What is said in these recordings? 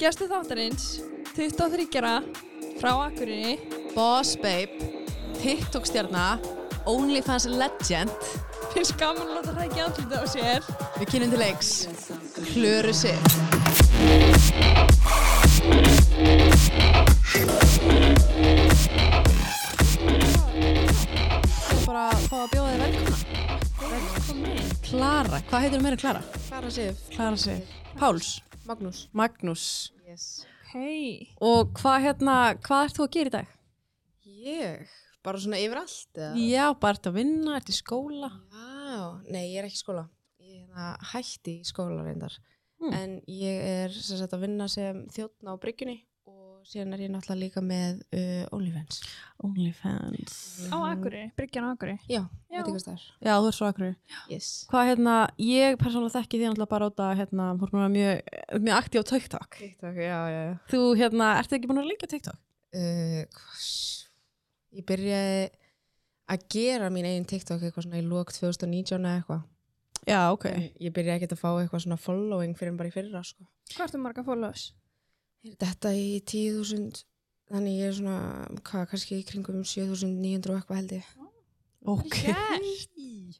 Gjastu þáttarins, 23-ra, frá Akureyri, Boss Babe, TikTok stjarna, OnlyFans Legend, finnst gaman að láta hrækja andlita á sér. við kynum til leiks, Klöru Sif. Bara að fá að bjóða þig velkomna. Velkomin. Klara, hvað heitir þú meira Klara? Klara Sif, Klara Sif. Páls, Magnús Magnús. yes. Hei. Og hvað hérna, hvað ert þú að gera í dag? Ég, bara svona yfirallt eða? Já, bara ert að vinna, ert í skóla. Já, nei, ég er ekki í skóla Ég er hérna hætti í skóla reyndar Mm. En ég er sem sagt að vinna sem þjóttna á bryggjunni Og síðan er ég náttúrulega líka með uh, OnlyFans OnlyFans. Á Akureyri, Bryggjan á Akureyri. Já, Já. veit ekki hvað það er Já, þú ert svo akkur. Yes Hvað hérna, ég persónulega þekki því náttúrulega bara út að hérna, þú ert núna mjög, mjög aktív á TikTok. TikTok, já, já, já Þú hérna, ertu ekki búin að líka TikTok? uh, hvers- Ég byrjaði að gera mín eigin TikTok eitthvað svona í lók 2019 eða eitthvað Já, ok. En Ég byrjaði ekkert að fá eitthvað svona following fyrir en bara í fyrra, sko Hvað ertu marga followers? Þetta í 10.000 þannig ég er svona, hvað, kannski í kringum 7.900 og eitthvað held ég Ok. Yes.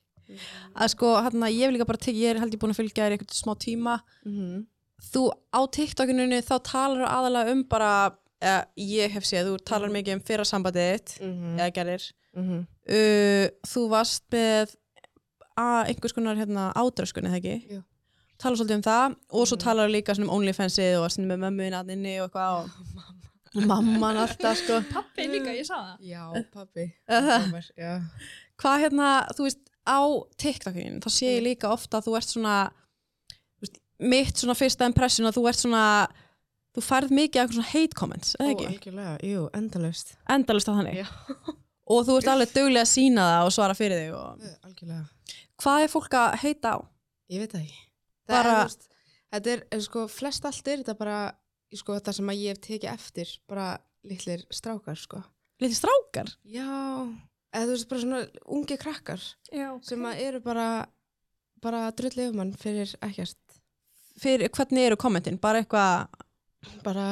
Að sko, hérna, ég hef líka bara tekið, ég er held ég búin að fylgja þér í eitthvað smá tíma. -hmm. Þú á TikTokinu þá talar þú aðalega um bara, eh, ég hef séð, þú talar mikið um fyrra sambandið þitt, eða gerir. Uh, þú varst með að einhvers konar hérna ádröskun eða ekki? Jú. Talar svolítið um það og svo Mhm. talar þú líka svona um OnlyFansið og svona með mömmuðin að inni og eitthvað og mamman alltaf sko. Pappi líka, ég sá það. Já, pabbi Eh, Ómar, já. Hvað hérna, þú veist, á TikTokinu þá sé Mm. ég líka ofta að þú ert svona þú veist, mitt svona fyrsta impression að þú ert svona þú færð mikið af eitthvað svona hate comments eða Ó, ekki? algjörlega, jú, endalaust Endalist á þannig. Já. Og þú ert alveg duglega að sína það og svara fyrir þig og Eh, Algjörlega, hvað er fólk að heita á? ég veit það ekki Bara- það er, þú veist, Þetta er, eh, sko, flest allt er þetta bara sko, það sem að ég hef tekið eftir bara litlir strákar, sko Lítið strákar? Já, eða þú veist, bara svona ungi krakkar Já. sem að eru bara bara drullið um hann fyrir ekkert fyrir hvernig eru kommentin, bara eitthvað bara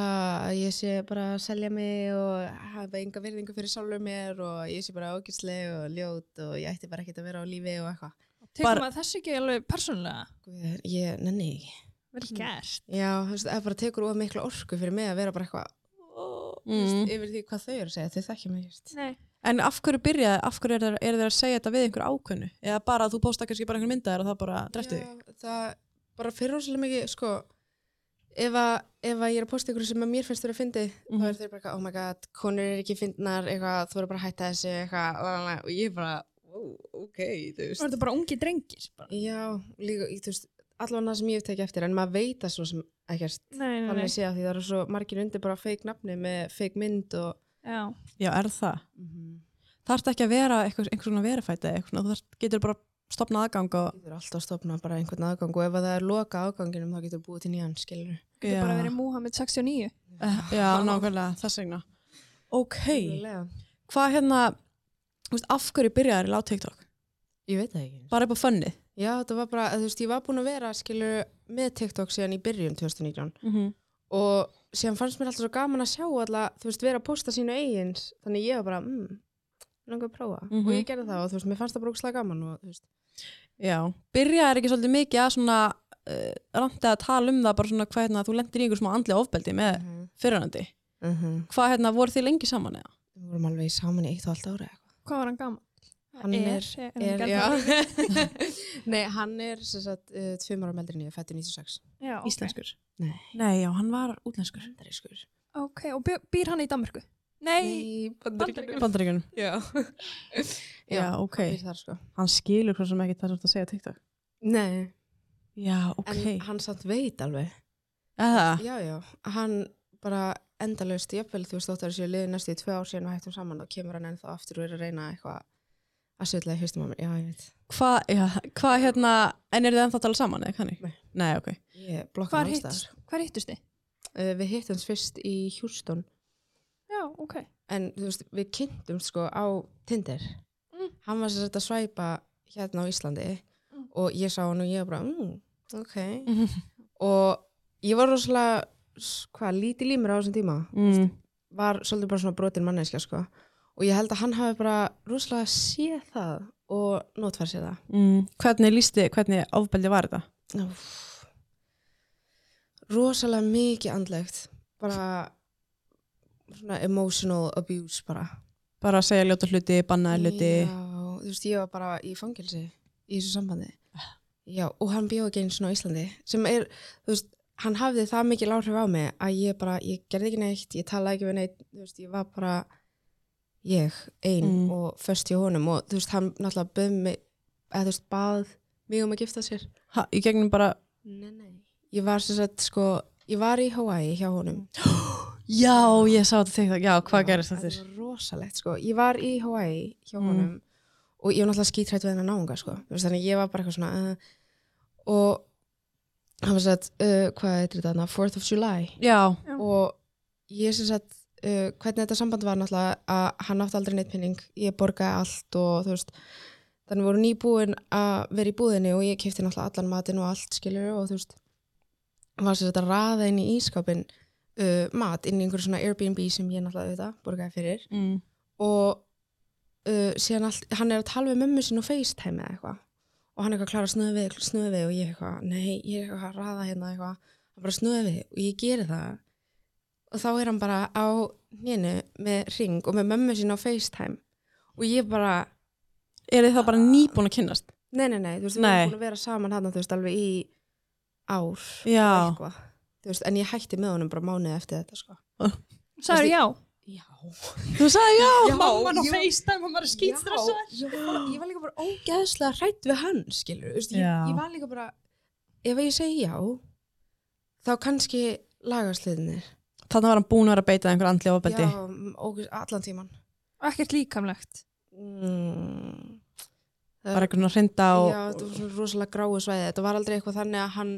að ég sé bara að selja mig og hafa enga virðingu fyrir sjálfur mér og ég sé bara ógæsleg og ljót og ég ætti bara ekkert að vera á lífi og eitthvað. Tekum Bara- að þessu ekki alveg persónulega. Guð, Ég, nenni, ekki. Vel gert. já, þú veist, það bara tekur of mikla orku fyrir mig að vera bara eitthvað þú veist, mm. yfir því hvað þau eru að segja, þau þekkja mig, just. Nei. en af hverju byrjaði, af hverju eru er þeir að segja þetta við einhver ákvönnu, eða bara að þú posta kannski bara einhver myndaðir og það bara drefti þig Já, það bara fyrir rosalega mikið, sko, ef að, ef að ég er að posta ykkur sem að mér finnst þurfa að fyndi, Mhm. þá er þau bara eitthvað, oh my god, konur er ekki fyndnar, eitthvað, þú eru bara að hætta þessu, eitthvað, la, la, la, og ég bara, wow, ok, þú Það veist. eru bara ungi drengir. Bara. Já, líka, ég, þú veist, allan það sem ég hef tekið eftir, en maður veit það svo sem ekkert Nei, nei, nei. þannig sé að því það eru svo margir undir bara feik nafni með feik mynd og Já. já, er það, Mhm. þarf ekki að vera einhver, einhver svona verifæti, eitthvað, svona, þú þarft, getur bara stopna aðgang og Þú eru alltaf að stopna bara einhvern aðgang og ef að það er loka aðganginum þá getur búið til nýjan, skilur Getur bara verið Múhammed 69. Eh, já, nákvæmlega, þess vegna ok, Nefnilega. hvað hérna þú veist, af hverju byrjaði þér á TikTok Ég veit það ekki. bara upp á fönni Já, þetta var bara, þú veist, ég var búin að vera, skilur, með TikTok síðan í byrjun 2019 mm Mhm. -hmm. og síðan fannst mér alltaf svo gaman að sjá alla, þú veist, vera að posta sínu eigins, þannig ég var bara, mm, langar að prófa Mhm. og ég gerði það og þú veist, mér fannst það bara ógeðslega gaman og þú veist, já, byrjaði ekki svolítið mikið að svona uh, randi að tala um það bara svona hvað hérna, þú lendir í einhver smá andlega ofbeldi með uh -huh. fyrirandi Uh hvað hérna, voru þið lengi saman eða? Við vorum alveg saman í eitt og allt ára eitthvað. Hvað var hann gaman? Hann er- er, um hann ekki alveg- já. Nei, hann er sem sagt uh, tveim ára meldri en ég, fættur 96. já ok. Íslenskur? Nei. Nei, já, hann var útlenskur Bandarískur. Ok, og býr, býr hann í Danmörku? Nei. Bandaríkjunum. Bandaríkjunum Já. Já, ok hann býr Þar, sko. Hann skilur hvað sem ekki það sem þú ert að segja á TikTok Nei, Já, ok Ah. en hann samt veit alveg. Eða? Já, já. Hann bara endalaust, jafnvel þú veist þóttar þessu liðið næstu í tvö ár síðan við hættum saman og kemur hann ennþá aftur og er að reyna eitthvað að sjöðla í höstum á mér. Já, ég veit. Hvað, já, hvað hérna En eru þið ennþá að tala saman, eða kannig? Nei. Nei, ok Ég blokka Hvar hann hittust, alltaf. hvar hittust þið? Uh, við hittumst fyrst í Hjústón Já, ok. en þú veist, við kynntum sko á Tinder Mm. hann var sér að svæpa hérna á Íslandi Mm. og ég sá hann og ég var bara mm, ok Mhm. og ég var rosalega s- hvað, lítið límur á þessum tíma mm. var svolítið bara svona brotin manneskja sko. og ég held að hann hafi bara rosalega séð það og notfært sér það Mm. Hvernig lísti, hvernig ofbeldi var þetta? Úff. rosalega mikið andlegt bara svona emotional abuse bara Bara að segja ljóta hluti, bannaði hluti. Já, þú veist, ég var bara í fangelsi í þessu sambandi. Já, og hann bjóði ekki einu svona á Íslandi sem er, þú veist, hann hafði það mikil áhrif á mig að ég bara, ég gerði ekki neitt, ég talaði ekki við neitt, þú veist, ég var bara ég, ein Mm. og föst í honum og þú veist, hann náttúrulega bauð mig, eða þú veist, bað mig um að gifta sér. Ha, í gegnum bara, Nei, nei. Ég var sem sagt, sko, ég var í Hawaii hjá honum. já, ég sá þetta tekta, já, hvað gerist þetta? Það var rosalegt sko. Ég var í Hawaii hjá Mm. honum og ég var náttúrulega skítrætt við hennar náunga sko. Þú veist, Þannig að ég var bara eitthvað svona uh, og hann var sagt, uh, hvað heitir þetta þarna, 4th of July Já, og ég sem sagt, uh, hvernig þetta samband var náttúrulega að hann átti aldrei neitt pinning, ég borgaði allt og þú veist, þannig voru nýbúin að vera í búðinni og ég kefti náttúrulega allan matinn og allt skilur og þú veist, var sem sagt að raða inn í ískapin uh, mat inn í einhverju svona Airbnb sem ég náttúrulega auðvitað borgaði fyrir mm. og uh, síðan allt, hann er að tala við mömmu sín og FaceTime eða eitthvað og hann er eitthvað að klara að snöðu við, snöðu við og ég eitthvað, nei, ég er eitthvað að raða hérna eitthvað hann bara snöðu við og ég geri það og þá er hann bara á hnénu með ring og með mömmu sín á FaceTime og ég bara, er þið það bara nýbúin að kynnast? nei, nei, nei, þú veist, við Nei. erum búin að vera saman hann, þú veist, alveg í ár Já. eitthvað, þú veist, en ég hætti með honum bara mánuði eftir þetta, sko Sæður já. Já, Þú sagði já, Já, mamman á já. FaceTime og maður er skýtstressað. Já, ég var, ég var líka bara ógeðslega hrætt við hann, skilur. Veist, ég, Já. ég var líka bara, ef ég segi já, þá kannski lagast hlutinir. Þannig var hann búin að vera að beita einhver andli ofbeldi. Já, ógeð, allan tíman. Og ekkert líkamlegt. Mm. Bara einhvern veginn að hrinda Já, og... þetta var svona rosalega gráu svæði. Þetta var aldrei eitthvað þannig að hann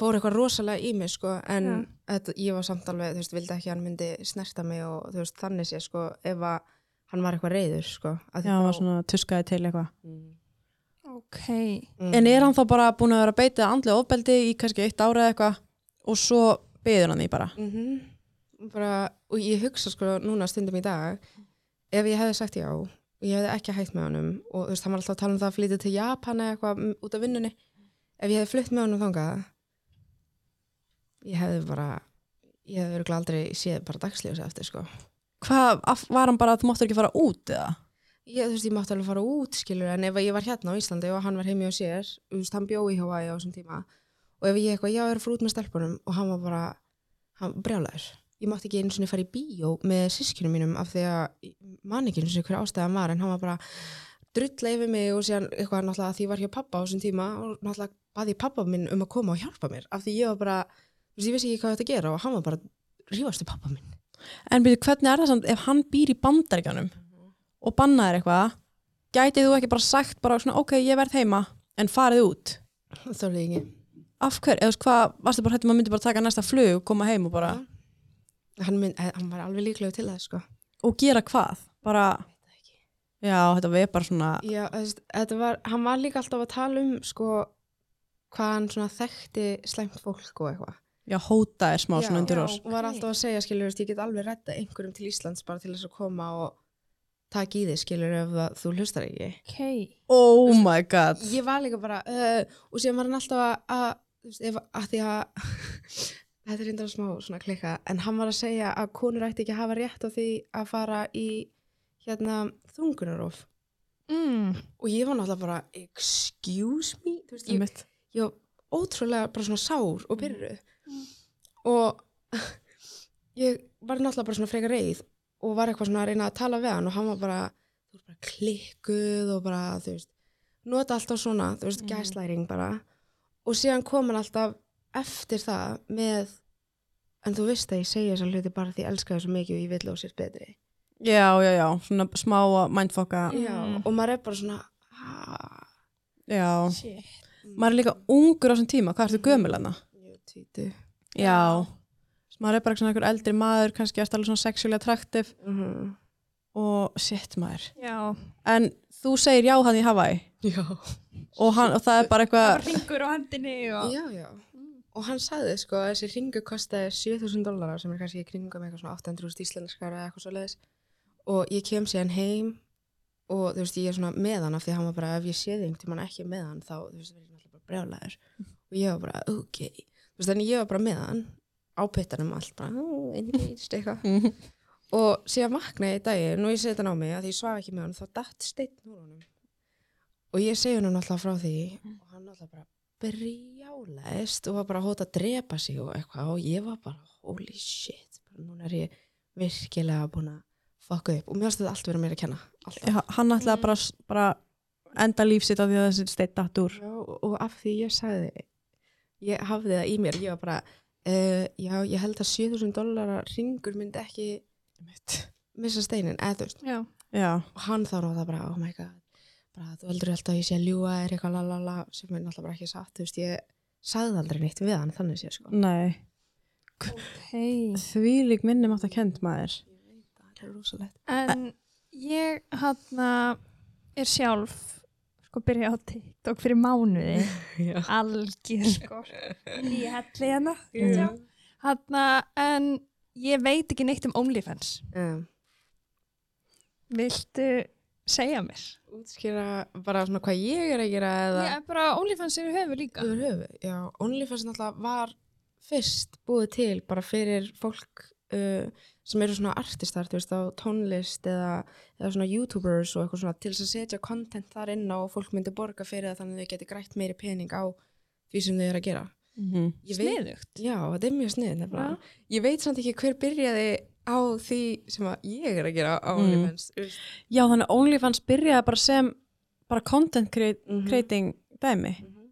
fór eitthvað rosalega í mig, sko, en Já. þetta, ég var samt alveg, þú veist, vildi ekki að hann myndi snerta mig og þú veist, þannig sé, sko, ef að hann var eitthvað reyður, sko. af því Já, hann var þá- svona tuskaði til eitthvað. Mm. Ok. En er hann þá bara búin að vera að beita andli ofbeldi í kannski eitt ára eða eitthvað og svo beður hann því bara? mm bara, og ég hugsa sko núna stundum í dag ef ég hefði sagt já og ég hefði ekki hægt með honum og þú veist, hann var alltaf að tala um það að flytja til Japan eða eitthvað mm, út af vinnunni ef ég hefði flutt með honum þangað ég hefði bara ég hefði verið aldrei séð bara dagsljósi eftir sko Hvað, af- var hann bara að þú máttur ekki fara út eða? ég, þú veist, ég mátti alveg fara út skilur en ef ég var hérna á Íslandi og hann var heimi á sér þú veist, hann bjó í Hawaii á þessum tíma og ef ég eitthvað, já, er að fara út með stelpunum og hann var bara, hann brjálæður ég mátti ekki einu sinni fara í bíó með sískinu mínum af því að ég man ekki einu sinni hver ástæðan var en hann var bara drulla yfir mig og síðan eitthvað náttúrulega að því ég var hjá pappa á þessum tíma og náttúrulega baði pappa minn um að koma og hjálpa mér af því ég var bara, þú veist, ég vissi ekki hvað þetta gera og hann var bara rífastu pappa minn En byrju, hvernig er það samt ef hann býr í bandaríkjanum og bannaðir eitthvað, gætið þú ekki bara sagt bara svona, ok, ég verð heima, en farið út? þorði ég ekki, Af hver, eða þú veist hvað, varstu bara hættum að myndi bara taka næsta flug og koma heim og bara, hann, minn, eh, hann var alveg líklega til það sko. og gera hvað? Bara, það ekki já, þetta við bara svona, Já, þú veist, þetta var, hann var líka alltaf að tala um sko hvað hann svona þekkti slæmt fólk og eitthvað. já, hóta er smá svona undir já, oss. og var alltaf að segja, skilur, þú veist, ég get alveg redda einhverjum til Íslands bara til þess að koma og taka í þig, skilur, ef að þú hlustar ekki. Ok. Oh my god. Ég var líka bara, uh, og síðan var hann alltaf að, að þú veist, ef, að því að, þetta er reyndar smá svona klikka, en hann var að segja að konur ætti ekki að hafa rétt á því að fara í, hérna, þungunarof. Mm. Og ég var náttúrulega bara, excuse me, þú veist, ég, Einmitt. ég var ótrúlega bara svona sár og byrruð og ég var náttúrulega bara svona frekar reið og var eitthvað svona að reyna að tala við hann og hann var bara, þú veist, bara klikkuð og bara, þú veist, nota alltaf svona, þú veist, Mhm. gaslighting bara og síðan kom hann alltaf eftir það með en þú veist að ég segja þessar hluti bara því ég elska þessu mikið og ég vill á sér betri Já, já, já, svona smá að mindfokka, Mm. Já, og maður er bara svona "Ah, já. Shit. Maður er líka ungur á þessum tíma, hvað ertu gömul hana? ég er tvítu Já. Maður er bara svona einhver eldri maður, kannski ertu alveg svona sexually attractive og shit maður. Já. En þú segir já hann í Hawaii Já og, hann, og það er bara Það var eitthvað, ringur á hendinni og... Já, já. og hann sagði sko að þessi ringu kostaði 7000 dólarar sem er kannski í kringum eitthvað svona 800 íslenskara eða eitthvað svo leiðis og ég kem síðan heim og þú veist ég er svona með hann af því að hann var bara ef ég séði einhvern tímann ekki með hann þá þú veist verður ég náttúrulega bara brjálæður og ég var bara ok þú veist þannig ég var bara með hann á pittanum allt bara einhvern eitthvað og síðan vaknaði í daginn og ég seti hann á mig að því ég svaf ekki með hann þá datt steinn úr honum og ég segi hann alltaf frá því og hann alltaf bara brjálæðist og var bara að hóta að drepa sig og eitthvað og ég var bara holy shit, bara núna er ég virkilega búin að fucka upp og mér finnst þetta allt vera mér að kenna alltaf. Hann ætlaði bara, bara enda lífsitt af því að þessi steitt datt úr. Já, og og af því ég sagði ég hafði það í mér, ég var bara uh, já, ég held að 7000 dólarar ringur myndi ekki missa steinin, eða þú veist Já. Já, og hann þá náða bara, oh my god bara, þú heldur alltaf að ég sé að ljúga er eitthvað lalala sem er náttúrulega bara ekki satt þú veist, ég sagði aldrei neitt við hann þannig sé sko nei. Hei. Þvílík minni mátt að kend maður. það er rosalegt En ég hann er sjálf sko byrja á TikTok fyrir mánuði algjör sko nýjalli hana Já. hann en ég veit ekki neitt um OnlyFans um, viltu segja mér? útskýra bara svona hvað ég er að gera eða Ég er bara OnlyFans eru hefur líka yfir höfu, já, OnlyFans náttúrulega var fyrst búið til bara fyrir fólk uh, sem eru svona artistar, þú veist, á tónlist eða, eða svona youtubers og eitthvað svona til þess að setja content þar inn á og fólk myndi borga fyrir það þannig að þau geti grætt meiri pening á því sem þau eru að gera Mhm. Ég veit- sniðugt Já, þetta er mjög snið nefnilega. Ég veit samt ekki hver byrjaði á því sem að ég er að gera á Mm. OnlyFans. Já, þannig að OnlyFans byrjaði bara sem bara content create, Mhm. creating dæmi. Mhm.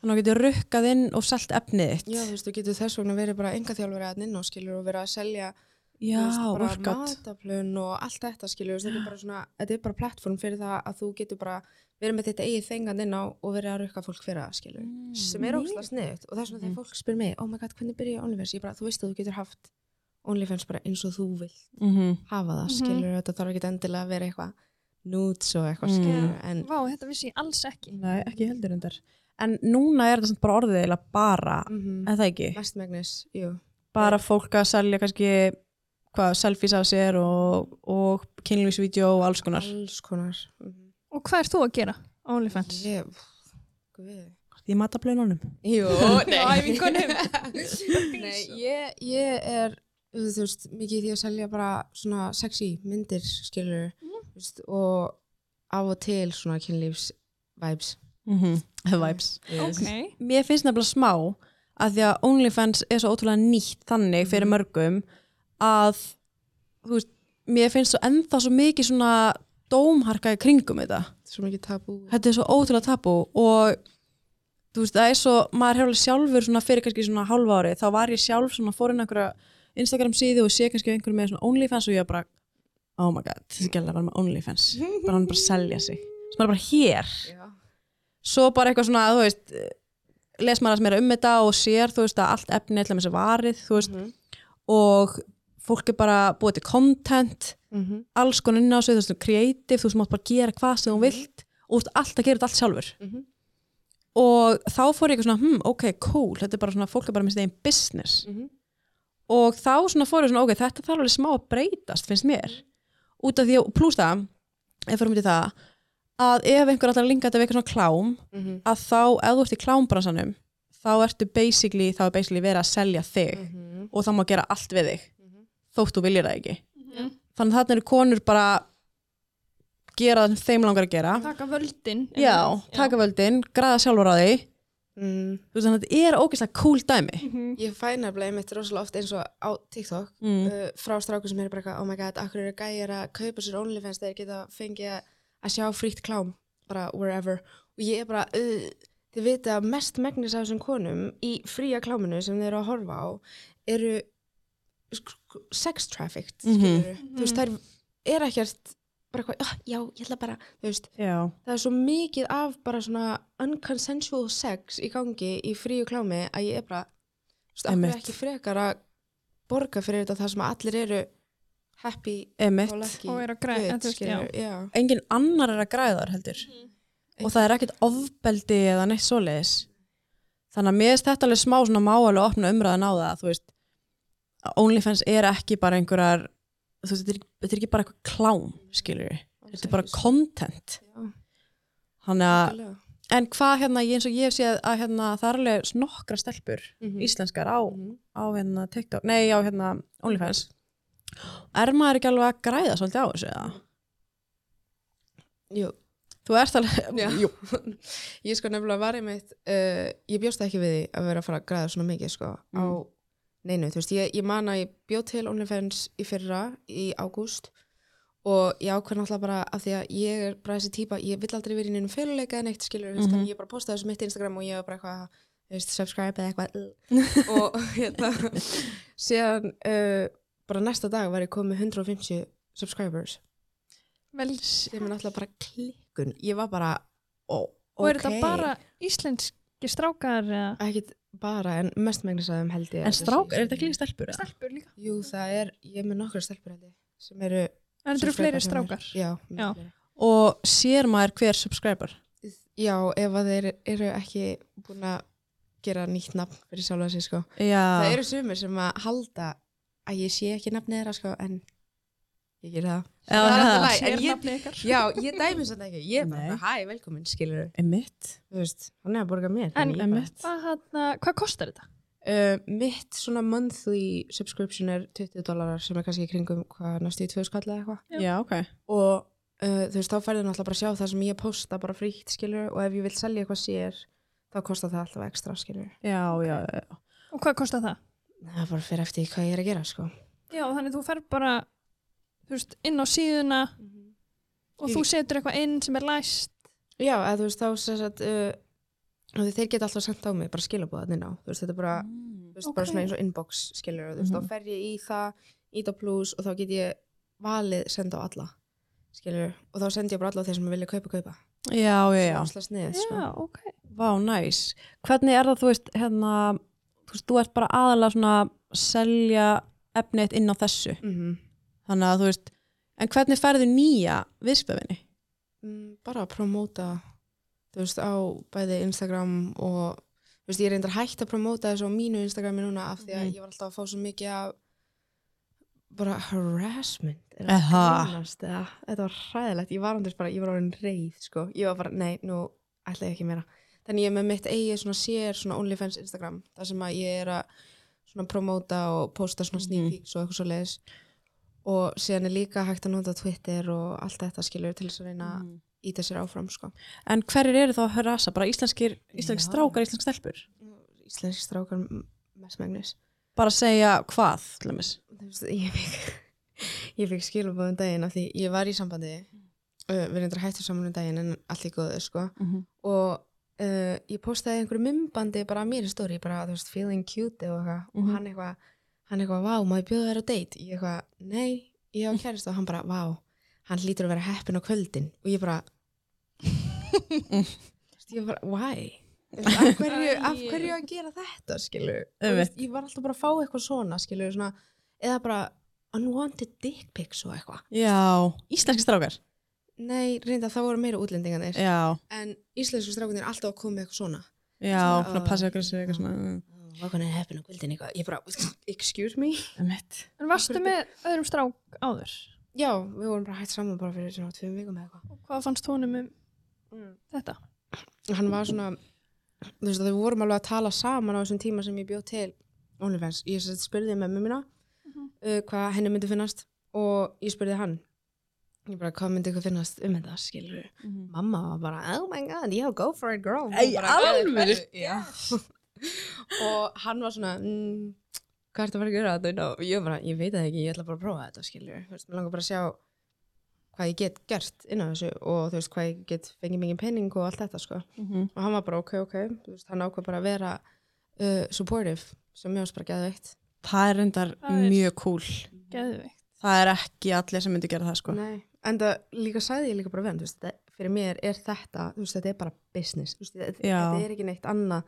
Þannig að þú getur rukkað inn og selt efnið þitt. Já, þú veist, þú getur þess vegna verið bara enga þjálfur eða inn og skilur og verið að selja þú Já, oh veist, bara workout. mataplun og allt þetta skilur. þú veist, Þetta er bara svona, þetta er bara plattform fyrir það að þú getur bara verið með þetta eigið þengan inn á og verið að rukka fólk fyrir það skilur. Sem er ósla sniðt og það er svona Mhm. þegar fólk spyr mig, oh my god, hvernig byrjaði OnlyFans? Ég bara, þú veist að þú getur haft OnlyFans bara eins og þú vilt. Mm -hmm. hafa það, Mhm. skilur þetta þarf ekki endilega að vera eitthvað nudes og eitthvað Mm. skilur en Vá, þetta vissi ég alls ekki Nei, ekki heldur undar. En núna er þetta samt bara orðið eða bara, mhm, eða það ekki? mestmegnis, jú Bara fólk að selja kannski hvað, selfies af sér og, og kynlífsvídeó og alls konar. alls konar mm -hmm. Og hvað er þú að gera á OnlyFans? ég, pff, guð Því matablönunum. jú, nei Á æfingunum. nei, ég, ég er þú veist, mikið í því að selja bara svona sexy myndir, skilur þú veist, og af og til svona kynlífs vibes Mm -hmm. Vibes. Ok Mér finnst nefnilega smá að því að OnlyFans er svo ótrúlega nýtt þannig fyrir mörgum að þú veist, mér finnst svo ennþá svo mikið svona dómharka í kringum þetta. svo mikið tabú Þetta er svo ótrúlega tabú og þú veist, það er svo, maður hefur alveg sjálfur svona fyrir kannski svona hálfa ári, þá var ég sjálf svona fórinn einhverja Instagram síðu og sé kannski einhverju með svona OnlyFans og ég bara oh my god, þessi gæla var með OnlyFans bara hann er bara að selja sig sem maður er bara hér já, svo bara eitthvað svona, þú veist les maður að meira um þetta og sér þú veist að allt efni ætla með þessi varið, þú veist Mhm. og fólk er bara búið til content, mm alls konar inn á sig þú veist, creative, þú veist, mátt bara gera hvað sem þú vilt og þú veist, alltaf gera þetta allt sjálfur Mhm. og þá fór ég eitthvað svona, hm, ok, cool þetta er bara svona, fólk er bara með sitt einn business Mhm. og þá svona fór ég svona, ok, þetta þarf alveg smá að breytast, finnst mér út af því, að- plús það ef fyrir myndi það, að ef einhver allar linga þetta við eitthvað svona klám Mhm. að þá, ef þú ert í klámbransanum þá ertu basically, þá er basically verið að selja þig og þá má gera allt við þig Mhm. þótt þú viljir það ekki Mhm. þannig að þarna eru konur bara gera það sem þeim langar að gera Taka völdin já, taka völdin, græða sjálfur á því þú Mm. veist þannig að þetta er ógeðslega cool dæmi völdin Ég fæ nefnilega mitt rosalega oft eins og á TikTok Mhm. mm. uh, frá stráku sem eru bara eitthvað, oh my god, akkur eru gæjar að kaupa sér OnlyFans þegar geta fengið að- að sjá frítt klám, bara wherever. Og ég er bara, uh, þið vita að mest megnis af þessum konum í fría kláminu sem þeir eru að horfa á eru sk- sk- sex trafficked, Mhm. skilurðu. Þú veist, þær eru ekkert bara eitthvað, "Ah, já, ég ætla bara, þú veist, já, það er svo mikið af bara svona unconsensual sex í gangi í fríu klámi að ég er bara þú veist, Einmitt. akkur ekki frekar að borga fyrir þetta þar sem allir eru happy og emitt lucky Og er að græða, good, en þú veist, skilur, já. engin Mhm. annar er að græða þar heldur og það er ekkert ofbeldi eða neitt svoleiðis þannig að mér er þetta alveg smá svona má alveg opna umræðan á það þú veist, OnlyFans er ekki bara einhverjar þú veist, þetta er, þetta er ekki bara eitthvað klám skilur þetta er bara content Já. þannig að, Algjörlega. en hvað hérna ég- eins og ég hef séð að hérna, það er alveg nokkra stelpur Mhm. íslenskar á, Mhm. á hérna TikTok, nei á hérna OnlyFans er maður ekki alveg að græða svolítið á þessu eða? Jú, Þú ert alveg, Já. ég sko nefnilega var einmitt uh, ég bjóst ekki við því að vera að fara að græða svona mikið sko á Mm. neinu, þú veist, ég, ég man að ég bjóð til OnlyFans í fyrra, í ágúst og ég ákveð náttúrulega bara af því að ég er bara þessi típa ég vill aldrei verið í neinum fyrirleika en eitt skilur mm Mhm. þannig ég bara postaði þessu mitt Instagram og ég var bara eitthvað þú veist, subscribe eða eitthvað uh. og hérna síðan uh, bara næsta dag var ég komið 150 subscribers Vel, sem er náttúrulega bara klikkun ég var bara, ó, og er þetta ókei. bara íslenski strákar eða ekkit bara, en mestmengnis að þeim held ég en strák, er þetta ekki líka stelpur? eða? stelpur líka? Jú, það er, ég er með nokkra stelpur held ég, sem eru En þetta eru fleiri subscriber strákar. hjá mér. Já, Já. miklu fleiri. Og sér maður hver subscriber? Já, ef að þeir eru ekki búin að gera nýtt nafn fyrir sjálfa sig, sko. Já, Það eru sumir sem að halda að ég sé ekki nafnið þeirra, sko, en ég ger það. Já, það er alltaf það. læg, en ég, Sérnafnið ykkar. já, ég dæmi svolítið ekki. Ég er Nei. bara, hæ, velkomin, skilur þau. Emitt. Þú veist, hann er að borga mér. En- þannig ég bara- Hvað, hana, hvað kostar þetta? Uh, mitt svona monthly subscription er 20 dólarar sem er kannski í kringum hvað næstu í tvö skalla eða eitthvað. Já. Já, ok. og uh, þú veist, þá færðu náttúrulega bara að sjá það sem ég posta bara frítt, skilur, og ef ég vil selja eitthvað sér, þá kostar það alltaf ekstra, skilur. Já, já, já. Og hvað kostar það? Það er bara fyrir eftir því hvað ég er að gera, sko. Já, þannig þú fer bara þú veist, inn á síðuna Mhm. og þú setur eitthvað inn sem er læst Já, eða þú veist, þá sem sagt, uh, af því þeir geta alltaf sendt á mig, bara skilabóðaninn á, þú veist, þetta er bara, þú veist, bara Ok. svona eins og inbox, skilur, og þú veist, Mhm. þá fer ég í það, ít á plus og þá get ég valið senda á alla, skilur, og þá sendi ég bara alla á þeir sem vilja kaupa, kaupa. Já, já, já. Svo sniðið, sko. Já, ok. Vá, næs. Hvernig er það, þú veist, hérna, þú veist, þú ert bara aðalega svona að selja efnið inn á þessu. Mm Þannig að þú veist, en hvernig færðu nýja viðspöfinni? Mm, bara að promóta þú veist á bæði Instagram og þú veist ég er reyndar hægt að promóta þessu á mínu Instagrami núna af því að Mhm. ég var alltaf að fá svo mikið af bara harassment er að Eha. grínast, eða, þetta var hræðilegt, ég var andurs bara ég var orðin reyð sko, ég var bara nei, nú ætla ég ekki meira, þannig ég er með mitt eigið svona sér, svona OnlyFans Instagram þar sem að ég er að svona promóta og posta svona sneak Mhm. peeks og eitthvað svo leiðis og síðan er líka hægt að nota Twitter og allt þetta skilur til þess að reyna Mhm. mm íta sér áfram sko. En hverjir eru þá að höra þessa? Bara íslenskir, íslensk Já. strákar, íslensk stelpur? Íslenski strákar m- mestmegnis. Bara segja hvað, til dæmis? Þú veist, Ég fikk, ég fikk skilabóðum daginn af því ég var í sambandi, uh, við reyndar hættum saman um daginn en allt í góðu sko. Og uh, ég postaði einhverju mymbandi bara að mér í stóri, bara þú veist, feeling cute eða eitthvað. Mhm. Og hann eitthvað, hann eitthvað, vá, má ég bjóða þér á date? Ég eitthvað, nei, ég Mhm. á kærist og hann bara, vá, hann lítur að vera heppin á kvöldin. Og ég bara, Mhm. ég bara, why? Þú veist, af hverju, af hverju að gera þetta skilu Einmitt. ég var alltaf bara að fá eitthvað svona skilu svona, eða bara unwanted dick pics og eitthvað Já, íslenski strákar? nei, reynda það voru meira útlendinganir Já, en íslensku strákunir er alltaf að koma með eitthvað svona já, Svona, svona ah, ó, passið okkur þessu eitthvað já. svona. mm. hvað er heppin á kvöldin eitthvað ég bara, excuse me Emitt. En varstu með öðrum strák áður? já, við vorum bara hægt saman bara fyrir svona tveim vikum eða eitthvað Og hvað fannst honum um Mm. þetta? hann var svona þú veist að við vorum alveg að tala saman á þessum tíma sem ég bjóð til OnlyFans, ég sem sagt spurði mömmu mína uh, hvað henni myndi finnast og ég spurði hann ég bara hvað myndi ykkur finnast um þetta skilur mamma var bara oh my god, yeah go for it girl Hún Ei, bara, "Hvað- alvöru? hvað- já." og hann var svona mm, hvað ertu að fara að gera þetta og ég bara, ég veit það ekki, ég ætla bara að prófa þetta skilur, þú veist, mér langar bara að sjá hvað ég get gert inn á þessu og þú veist, hvað ég get fengið mikið penning og allt þetta sko Mhm. og hann var bara ok, ok, þú veist, hann ákvað bara að vera uh, supportive sem ég ást bara geða veitt Það er reyndar Það er- mjög cool. Geðvikt. Það er ekki allir sem myndi gera það sko. Nei, en það líka sagði ég líka bara venn, þú veist, þetta, fyrir mér er þetta, þú veist, þetta er bara business, þú veist, þetta, Já. þetta er ekki neitt annað,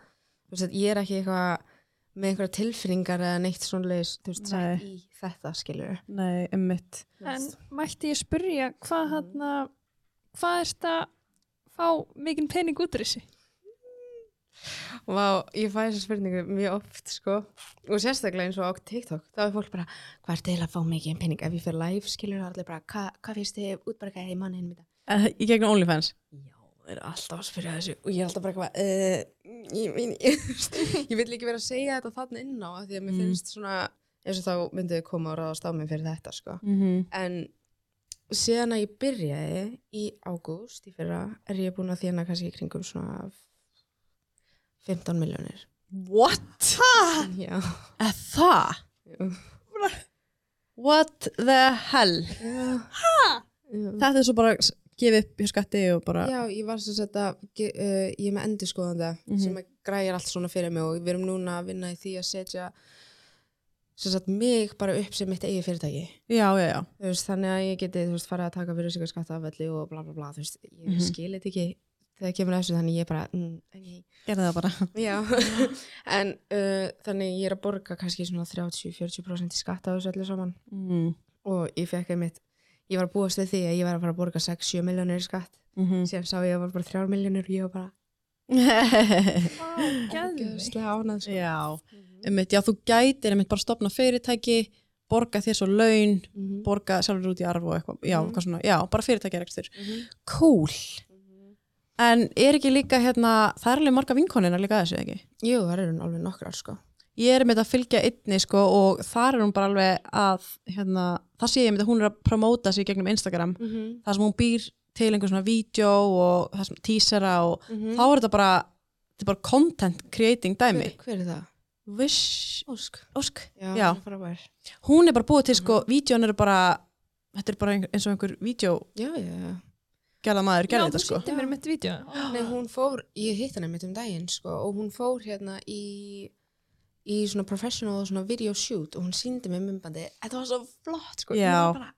þú veist, ég er ekki eitthvað með einhverja tilfinningar eða neitt svona leis, þú veist, sett í þetta, skilur. Nei, ummitt. En mætti ég spyrja hvað hann hvað er þetta fá mikinn pening út úr þessu? Vá, ég fæ þessa spurningu mjög oft, sko. Og sérstaklega eins og á TikTok, þá er fólk bara, hvað er til að fá mikið pening? Ef ég fyrir live, skilur það allir bara, "Hva- hvað finnst þið útbarkaði í manninn mitt? Eh, Í gegnum OnlyFans. Já, það er alltaf að spyrja þessu og ég er alltaf bara eitthvað, uh, ég, ég, ég, ég vil ekki vera að segja þetta þarna inn á af því að mér Mm. finnst svona, eins og þá myndið þau koma og ráðast á mig fyrir þetta, sko. Mm -hmm. En síðan að ég byrjaði í ágúst í fyrra er ég búin að þjána kannski í kringum svona 15 miljónir. What? Ha? Já. Er það? What the hell? Já. Já. Þetta er svo bara s- gefa upp hjá skatti og bara... Já, ég var sem sagt að ge- uh, ég er með endurskoðanda Mhm. sem að græjar allt svona fyrir mig og við erum núna að vinna í því að setja sem sagt mig bara upp sem mitt eigið fyrirtæki. Já, já, já. Þú Veist, þannig að ég geti þú veist, farið að taka fyrir sig að skatta af öllu og bla bla bla, þú veist, ég mm Mhm. skil þetta ekki þegar kemur að þessu, þannig ég bara mm, okay. Gerði það bara. Já, en uh, þannig ég er að borga kannski svona 30-40% í skatta á þessu öllu saman Mm og ég fekk einmitt, ég var að búast við því að ég var að fara að borga 6-7 miljónir í skatt -hmm. síðan sá ég að það var bara þrjár miljónir og ég var bara Geðveikt. ógeðslega ánað sko. já, einmitt, já, þú gætir einmitt bara stopna fyrirtæki, borga þér svo laun, Mhm. borga sjálfur út í arf og eitthvað, já, Mhm. eitthvað svona, já, bara fyrirtæki er ekstur. Mhm. Cool. En er ekki líka hérna, það er alveg marga vinkonina líka að þessu, ekki? Jú, það eru alveg nokkrar sko. Ég er með að fylgja einni, sko, og þar er hún bara alveg að, hérna, það sé ég einmitt að hún er að promóta sig í gegnum Instagram, Mhm, þar sem hún býr til einhver svona vídeo og það sem tísera og mhm. þá er þetta bara, þetta er bara content creating dæmi. hver, hver er það? Viss, Ósk ósk, Já, Mhm. Já. frábær. hún er bara búið til sko, vídjón eru bara þetta er bara ein- eins og einhver vídjógerða já, já, já. maður gerði þú þetta sko sýndi mér mitt vídeo Nei, hún fór, ég hitt hana mitt um daginn sko, og hún fór hérna í í svona professional og svona video shoot og hún síndi mig myndbandi þetta var svo flott sko Ég Já. var bara,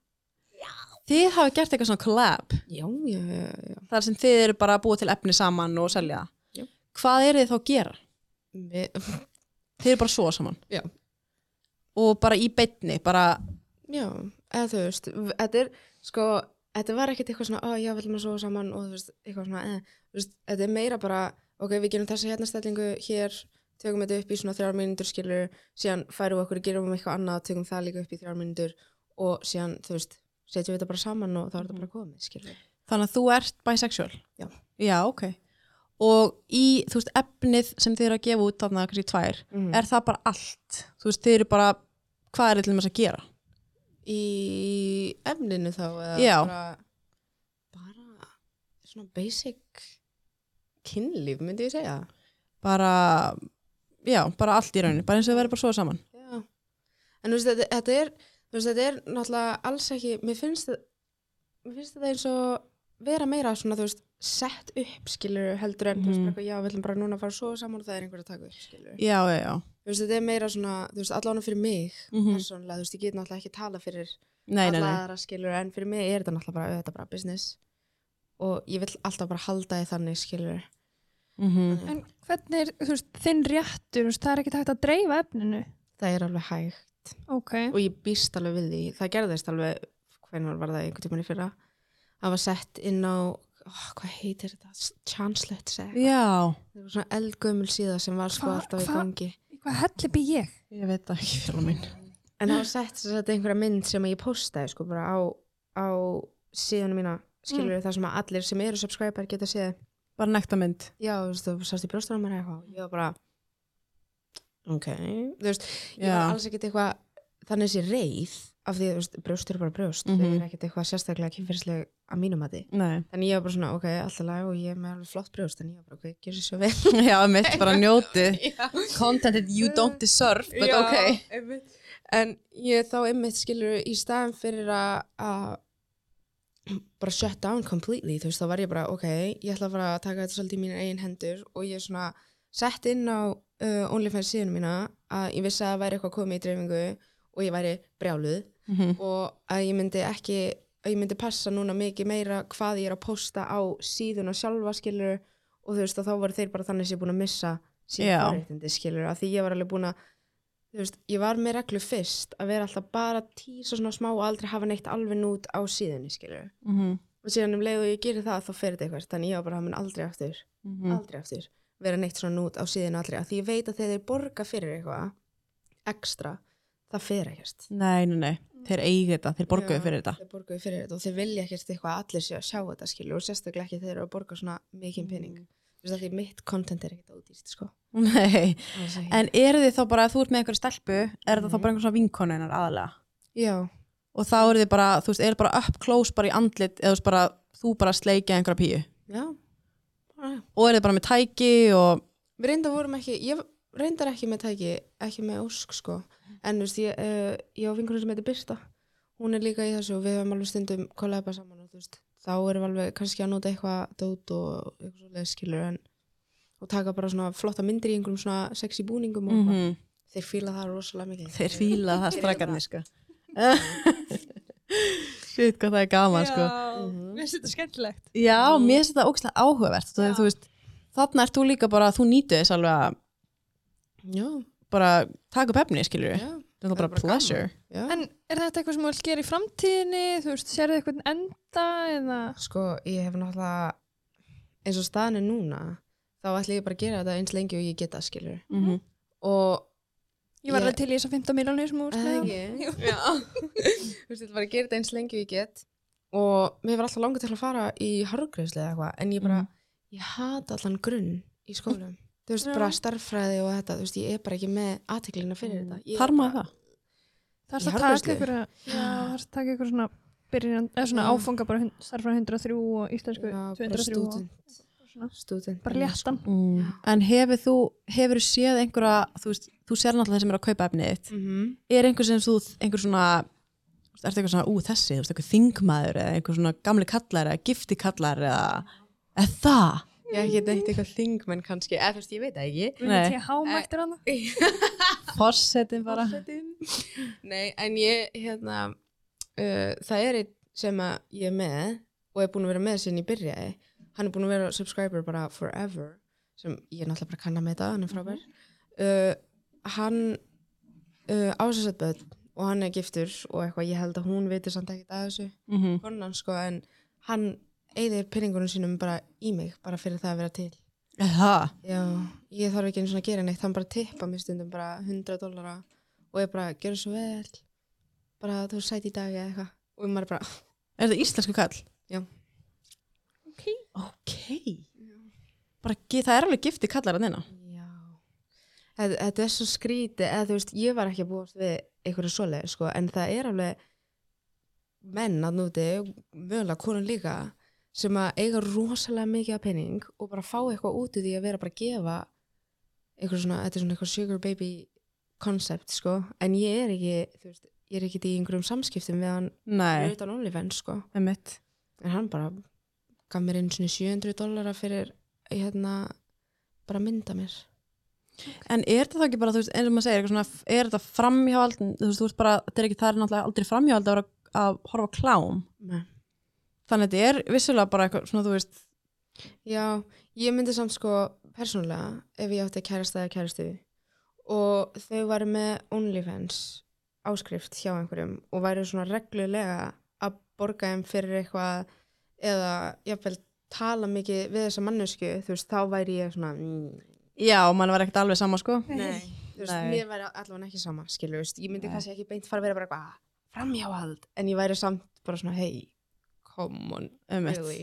þið hafa gert eitthvað svona collab já, já, já, já. þar sem þið eru bara að búa til efni saman og selja Jú. hvað eru þið þá að gera? Vi, þið eru bara svo saman Já. og bara í beinni bara, já, eða þú veist þetta er sko, þetta var ekkert eitthvað svona ó, já, viljum að svo saman og þú veist, eitthvað svona eh, þú veist, þetta er meira bara ok, við gerum þessa hérna stellingu hér tökum þetta upp í svona þrjár mínútur skilur síðan færum við okkur, gerum við eitthvað annað tökum það líka upp í þrjár mínútur og síðan, þú veist, setjum við þetta bara saman og þá er þetta bara komið, skilur þannig að þú ert bisexual Já. ok og í, þú veist, efnið sem þið eru að gefa út þarna kannski tvær, mm. er það bara allt þú veist, þið eru bara, hvað er þið til þess að gera? í efninu þá eða Já. bara, bara svona basic kynlíf myndi ég segja bara, já, bara allt í rauninu bara eins og þið verður bara svo saman Já. en þú veist þetta, þetta er þú veist þetta er náttúrulega alls ekki mér finnst þetta mér finnst þetta eins og vera meira svona þú veist sett upp skilur heldur en þú veist Mhm. bara eitthvað, já við ætlum bara núna að fara svo saman og það er einhver að taka upp skilur Já, já, já. þú veist þetta er meira svona þú veist allan fyrir mig Mhm. persónulega þú veist ég get náttúrulega ekki tala fyrir Nei, nei, alla nei. aðra skilur en fyrir mig er þetta náttúrulega bara, þetta er bara business og ég vil alltaf bara halda því þannig skilur Mm en hvernig, er, þú veist, þinn réttur þú veist, það er ekki hægt að dreifa efninu það er alveg hæg ok, og ég býst alveg við því það gerðist alveg, hvernig var það einhvern tímann í fyrra það var sett inn á oh, hvað heitir þetta, Chanslet það Já. var svona eldgömmul síða sem var sko Hva- alltaf í hva- gangi hvað helli bý ég Ég veit það ekki fyrir minn. en það var sett sem sagt einhverja mynd sem ég postaði sko bara á, á síðanum mína skilur mm. það sem að allir sem eru subscriber geta séð Bara nekta mynd. já, þú veist, þú sást í brjóstunum mér eitthvað ég var bara ok, þú veist, ég Já. var alls ekkert eitthvað þannig þessi reið af því, þú veist, brjóst eru bara brjóst Mhm. þau eru ekkert eitthvað sérstaklega kynferðisleg að mínum að því, Nei. þannig ég var bara svona ok, alltaf lag og ég er með alveg flott brjóst þannig ég var bara, ok, gerðu svo vel Já, mitt bara njótið. já, Content that you don't deserve, but ok. einmitt. en ég þá einmitt skilur í staðan fyrir að að bara shut down completely þú veist þá var ég bara ok, ég ætla að fara að taka þetta svolítið í mínu eigin hendur og ég svona sett inn á uh, OnlyFans síðan mína að ég vissi að það væri eitthvað komið í dreifingu og ég væri brjáluð Mm -hmm. og að ég myndi ekki að ég myndi passa núna mikið meira hvað ég er að posta á síðuna sjálfa skilur og þú veist að þá voru þeir bara þannig sem ég búin að missa Já. síðan forréttindi skilur að því ég var alveg búin að þú veist, ég var með reglu fyrst að vera alltaf bara að tísa svona smá og aldrei hafa neitt alveg nút á síðunni skilur Mm Mm. mhm. og síðan um leið og ég gerir það þá fer þetta eitthvað þannig ég var bara að mun aldrei aftur, aldrei aftur vera neitt svona nút á síðinu allri af því ég veit að þegar þeir borga fyrir eitthvað ekstra, það fer ekkert Nei, nei, nei, þeir eigi þetta, þeir borguðu Já. fyrir þetta. þeir borguðu fyrir þetta og þeir vilja ekkert eitthvað að allir séu að sjá þetta skilur og sérstaklega ekki þegar þeir eru að borga svona mikinn pening mm. þess að því mitt content er ekkert ódýst sko. Nei, Alls ekki. en eru þið þá bara, þú ert með einhverja stelpu, er þetta þá Mhm. bara einhver svona vinkonu hennar aðalega? já, Og þá eru þið bara, þú veist, er bara up close bara í andlit, eða þú veist bara, þú bara sleikja einhverja píu. já Bara- Og eru þið bara með tæki og, við reyndar vorum ekki ég reyndar ekki með tæki, ekki með ósk sko. en þú veist, ég, uh, ég á vinkunum sem heitir Birta, hún er líka í þessu og við höfum alveg stundum kollaba saman og þú veist, þá erum við alveg kannski að nota eitthvað dót og eitthvað svoleiðis, skilur en, og taka bara svona flotta myndir í einhverjum svona sexy búningum og mm mm þeir fíla það rosalega mikið þeir fíla það strakkarnir, sko. Sýtt hvað það er gaman, sko. mér finnst þetta skemmtilegt Já, mér finnst þetta ógstlega áhugavert. Þú, Já. þú veist, þarna ert þú líka bara, þú nýtu þess alveg að já, bara taka upp efni, skilur já, Þetta er Það er bara bara pleasure. já. En er þetta eitthvað sem þú vilt gera í framtíðinni? Þú veist, sérðu eitthvað enda eða... sko, ég hef náttúrulega eins og staðan er núna þá ætla ég bara að gera þetta eins lengi og ég geta skilur Mm -hmm. og Ég var Ég- alveg til í þess að 15 miljónir sem þú veist Það ekki? Já. Þú veist, þetta var að gera þetta eins lengi og ég get og mér var alltaf langur til að fara í hargreifsli eða eitthvað, en ég bara, Mhm. ég hata allan grunn í skólum. Þú veist, Já. bara starffræði og þetta, þú veist, ég er bara ekki með aðteklina fyrir þetta. Ég, Þar Mhm. maður það. Það er að Í taka hárgreiðslu? ykkur að, já, það er að taka ykkur svona byrjan, eða svona Já. áfanga bara starfra 103 og íslensku Já, bara 203 og stúdent, svona, stúdent. bara léttan. Mm. En hefur þú, hefur þú séð einhverja, þú veist, þú sér náttúrulega þeir sem er að kaupa efnið þitt. Mm -hmm. Er einhver sem þú, einhver svona, þú veist, ertu eitthvað svona, ú þessi, þú veist, einhver þingmaður eða einhver svona gamli kallar eða gifti kallar eða, eða það? Ég er ekki neitt eitthvað þingmenn kannski, eða þú veist, ég veit það ekki. Mm, Við erum til hámættir hann. Fossetin bara. Forsetinn. Nei, en ég, hérna, uh, það er einn sem að ég er með og er búin að vera með sinni í byrjaði. Hann er búin að vera subscriber bara forever, sem ég er náttúrulega bara kann að kanna með þetta, hann er frábær. Uh, hann uh, ásessat börn og hann er giftur og eitthvað, ég held að hún veitir samt ekkert að þessu, Mm -hmm. konan sko, en hann eigðir pinningunum sínum bara í mig, bara fyrir það að vera til. Það. Já, ég þarf ekki einu svona að gera neitt, hann bara tippa mér stundum bara 100 dollara og ég bara, gjör svo vel, bara þú ert sæt í dag eða eitthvað og maður er bara, Er það íslensku kall? Já. Ok. Ok. Bara, ge- það er alveg gifti kallar að þeina. já, þetta, þetta er svo skrítið, eða þú veist, ég var ekki að búast við einhverju svoleið, sko, en það er alveg menn að núti, mögulega konun líka, sem að eiga rosalega mikið af penning og bara fá eitthvað út í því að vera bara að gefa eitthvað svona, þetta er svona eitthvað sugar baby concept, sko, en ég er ekki, þú veist, ég er ekki í einhverjum samskiptum við hann Nei. utan OnlyFans, sko, Það mitt. en hann bara gaf mér einu svona 700 dollara fyrir, hérna, bara mynda mér. En er þetta þá ekki bara, þú veist, eins og maður segir, eitthvað svona, er þetta framhjáhald, þú veist, þú veist bara, þetta er ekki, það er náttúrulega aldrei framhjáhald að, vera að horfa á klám. Nei. Þannig að þetta er vissulega bara eitthvað, svona, þú veist, Já, ég myndi samt sko persónulega ef ég átti kærasta eða kærastu og þau varu með OnlyFans áskrift hjá einhverjum og væru svona reglulega að borga þeim fyrir eitthvað eða jafnvel tala mikið við þessa mannesku, þú veist, þá væri ég svona mm, já, mann var ekkert alveg sama, sko. Nei, þú veist, Nei. mér væri allavega ekki sama, skilur, veist, ég myndi Nei. kannski ekki beint fara að vera bara eitthvað framhjáhald, en ég væri samt bara svona, hey, come on, Um really,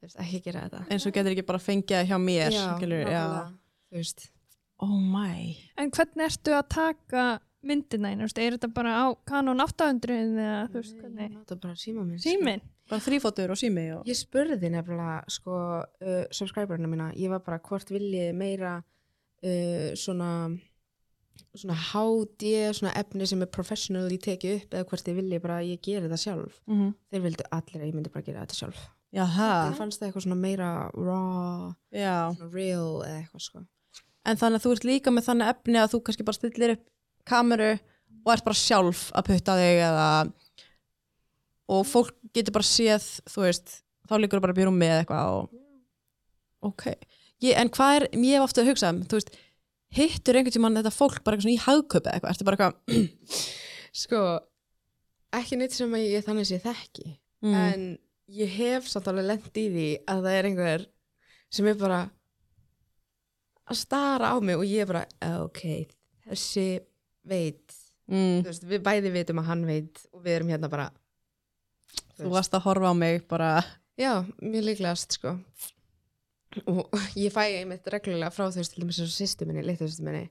þú veist, ekki gera þetta Eins og getur ekki bara fengið það hjá mér, skilur, já. nákvæmlega, þú veist Oh my. En hvernig ertu að taka myndina einu? Er þetta bara á Canon 800 eða þú veist Nei, ég hvernig? nota bara síma minn sko. Símin? Bara þrýfóttur og sími og... ég spurði nefnilega sko, uh, subscriberina mína, ég var bara hvort viljið þið meira uh, svona svona HD, svona efni sem er professionally tekið upp eða hvort ég viljið bara að ég geri það sjálf Mm -hmm. þeir vildu allir að ég myndi bara gera þetta sjálf Já, það. þeir fannst það eitthvað svona meira raw, Já. svona real eða eitthvað sko En þannig að þú ert líka með þannig efni að þú kannski bara stillir upp kameru og ert bara sjálf að putta þig eða og fólk getur bara séð þú veist, þá líkur bara björnum með eitthvað og ok ég, en hvað er, ég hef ofta að hugsa um þú veist, hittur einhvern tímann þetta fólk bara eitthvað svona í hagköpi eða eitthvað, ertu bara eitthvað sko, ekki neitt sem að ég þannig sé þekki mm, en ég hef samt alveg lent í því að það er einhver sem er bara að stara á mig og ég bara, ok, þessi veit, mm. þú veist, við bæði vitum að hann veit og við erum hérna bara, Þú varst að horfa á mig bara já, mjög líklegast, sko. Og ég fæ einmitt reglulega frá þau til dæmis þessu sýstu minni, litlu sýstu minni,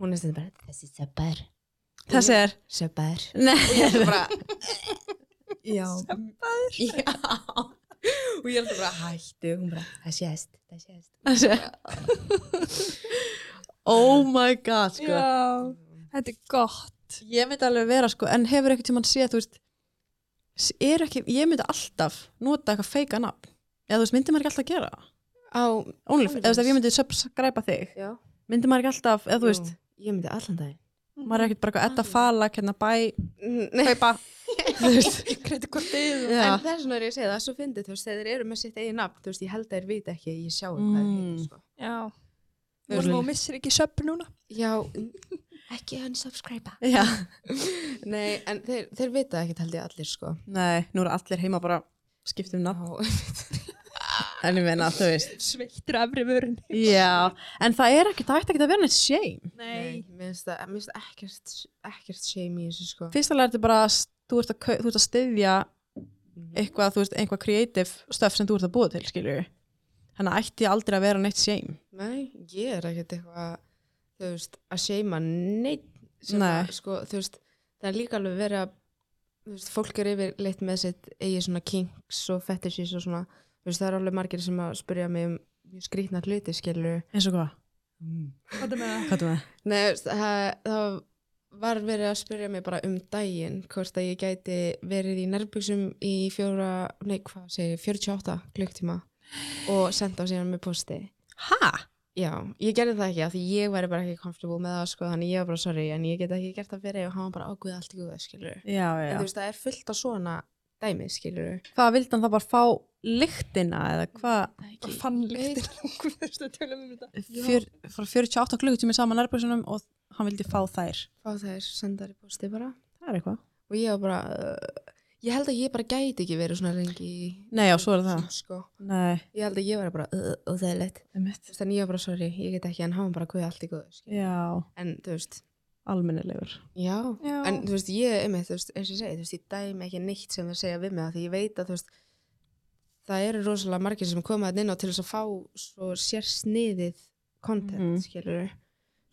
hún er stundum bara, þessi sabbar, Þessi er sabbar. Nei, Ég er bara, já. Já. Og ég er alltaf bara, hættu, hún bara, það sést, það sést. þessi er Oh my god sko. Já, þetta er gott. Ég myndi alveg vera sko En hefur eitthvað tímann séð þú veist, s- er ekki, Ég myndi alltaf nota eitthvað feika nafn Eða þú veist, myndi maður ekki alltaf gera það Á, Onlyf, eða þú veist, ef ég myndi subscribe þig já. Myndi maður ekki alltaf, eða þú veist Ég myndi allan daginn. Maður er ekkert bara eitthvað edda fala, hérna bæ Nei, Kaupa Þú veist, kredikortið en það er svona er ég að segja það, svo fyndið, þú veist, þegar þeir eru með sitt eigin nafn, þú veist, ég held að þeir vita ekki, ég sjá mm. hvað þeir Mm. heita, sko. Já. Þú Og þú missir ekki söpn núna. Já, ekki unsubscriba. Já, Nei, en þeir, þeir vita ekkert held ég allir, sko. nei, nú eru allir heima bara skipt um nafn Já, En ég meina, þú veist Sveittur afri vörunni. Já, en það er ekkert, það ætti ekkert að vera neitt shame nei, mér finnst það, mér finnst ekkert, ekkert shame í þessu, sko. Fyrst alveg er þetta bara, að s- þú ert að, kau- þú ert að styðja eitthvað, þú veist, einhvað creative stöf sem þú ert að búa til, skilur Þannig að ætti aldrei að vera neitt shame Nei, ég er ekkert eitthvað, þú veist, að seima neitt sem Nei. að, sko, þú veist, það er líka alveg verið að, þú veist, fólk er yfir leitt með sitt eigi svona kinks og fetishes og svona, þú veist, það er alveg margir sem að spyrja mig um mjög skrýtna hluti, skilur. Eins og hvað? Hvað er með það? Hvað er það? Nei, þú veist, það, það var verið að spyrja mig bara um daginn, hvort að ég gæti verið í nærbuksum í fjóra, nei, hvað segir, ég, 48 klukktíma og senda á síðan með posti. Ha? Já, ég gerði það ekki af því ég væri bara ekki comfortable með það sko þannig ég var bara sorry en ég get ekki gert það fyrir þig og hann var bara ágúið allt í guða skilur Já, en þú já veist það er fullt af svona dæmi skilur Hvað vildi hann það bara fá lyktina eða hvað? Ég fann lyktir langur þess að tölum um þetta. Fjör, frá 48 klukkutími saman nærbjörnsunum og hann vildi fá þær fá þær sendar í posti bara Það er eitthvað og ég var bara uh, ég held að ég bara gæti ekki verið svona lengi í- Nei, já, svo er það. sko. Nei, ég held að ég væri bara uh, og það er lett það er mitt þannig ég var bara sorry, ég get ekki en hann var bara guðið allt í guða skilur Já, en þú veist, almennilegur já Já. en þú veist, ég, einmitt, þú veist, eins og ég segi, þú veist, ég dæmi ekki neitt sem það segja við mig að því ég veit að, þú veist, það eru rosalega margir sem koma þetta inn á til þess að fá svo sérsniðið content, mm Mhm.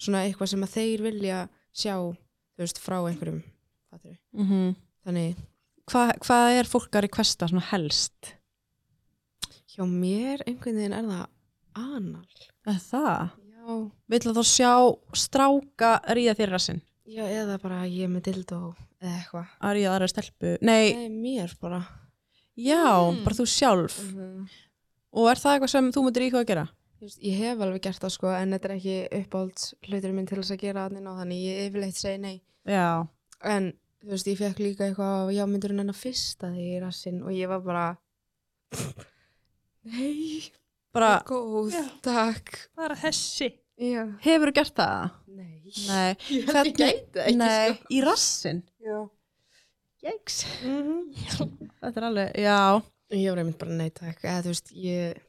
svona eitthvað sem að þeir vilja sjá, þú veist, frá einhverjum, fattur mm Þannig, Hva, Hvað er fólk að requesta svona helst? hjá mér einhvern veginn er það anal. Er það? Já, Vill að þú sjá stráka ríða þér rassinn? já, eða bara ég er með dildó eða eitthvað. Að ríða aðra stelpu? Nei, Nei, mér bara. já, Mm. bara þú sjálf Mhm. Og er það eitthvað sem þú myndir íkvað að gera? Þú veist, ég hef alveg gert það sko en þetta er ekki uppáhalds hluturinn minn til þess að gera þannig og þannig ég yfirleitt segi nei Já, en þú veist ég fekk líka eitthvað á já myndurinn hennar fyrsta því í rassinn og ég var bara nei, bara góð, Já. takk Bara þessi. já, hefur þú gert það? nei Nei, ég held ég gæti ekki nei í rassinn? sko já. Jæks Mm Þetta er alveg, já ég var einmitt bara nei takk eða þú veist ég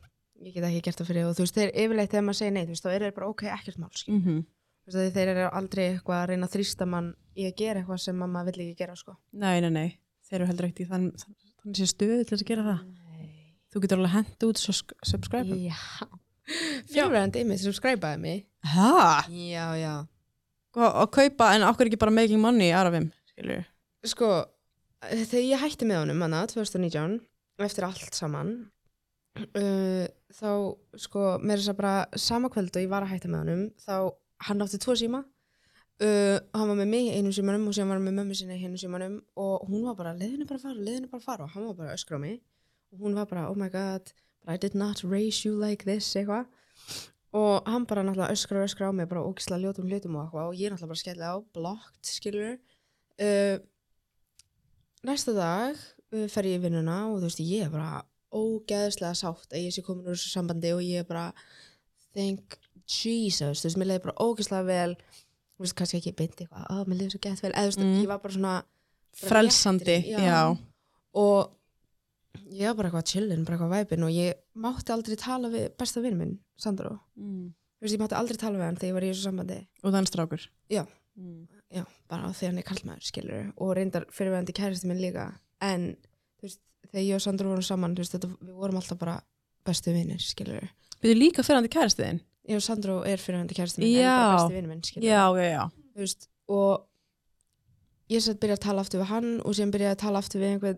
ég get ekki gert það fyrir þig og þú veist þeir yfirleitt þegar maður segir nei þú veist þá er þeir bara ok ekkert mál skil mm -hmm. þú veist af því þeir eru aldrei eitthvað að reyna að þrýsta mann í að gera eitthvað sem að maður vill ekki gera sko Nei, nei, nei, þeir eru heldur ekkert í þann, þann, þann sé stöðu til þess að gera Ah. það nei Þú getur alveg hendt út subscribe Já. Fyrirverandi ymmið sem skræpaði mig. Hæ? Já, já. Og, og kaupa, en okkur ekki bara making money í Arafim, skilur Sko, þegar ég hætti með honum hana 2019, eftir allt saman, uh, þá, sko, mér þess að bara sama kvöld og ég var að hætta með honum, þá hann átti tvo síma, uh, hann var með mig einu símanum og síðan var hann með mömmu sinni einu símanum og hún var bara, leiðinu bara að fara, leiðinu bara að fara og hann var bara að öskra á mig og hún var bara, oh my god, but I did not raise you like this, eitthvað. Og hann bara náttúrulega öskra og öskra á mig, bara ógislega ljótum hlutum og eitthvað og ég náttúrulega bara skellið á, blocked, skilur. Uh, næsta dag uh, fer ég í vinnuna og þú veist ég er bara ógeðslega sátt að ég sé komin úr þessu sambandi og ég er bara thank Jesus, þú veist, mér leiði bara ógeðslega vel þú veist, kannski ekki beint eitthvað, að mér leiði svo gett vel eða þú veist, Mm. ég var bara svona bara Frelsandi, léttir, já. og ég var bara eitthvað chillin, bara eitthvað væpin og ég mátti aldrei tala við besta vinn minn, Sandro Þú veist, ég mátti aldrei tala við hann þegar ég var í þessu sambandi. og þann strákur Já. mm. Já, bara því hann er kallmaður, skilur. Og reyndar fyrirvægandi kæristi minn líka. En, þú veist, þegar ég og Sandra vorum saman, þú veist, þetta, við vorum alltaf bara bestu vinnir, skilur. Við erum líka fyrrandi kæristiðin Ég og Sandra er fyrirvægandi kæristi minn, en Já. bara bestu vinnir minn, skilur. Já, já, já Þú veist, og ég satt byrja að tala aftur við hann og síðan byrja að tala aftur við einhver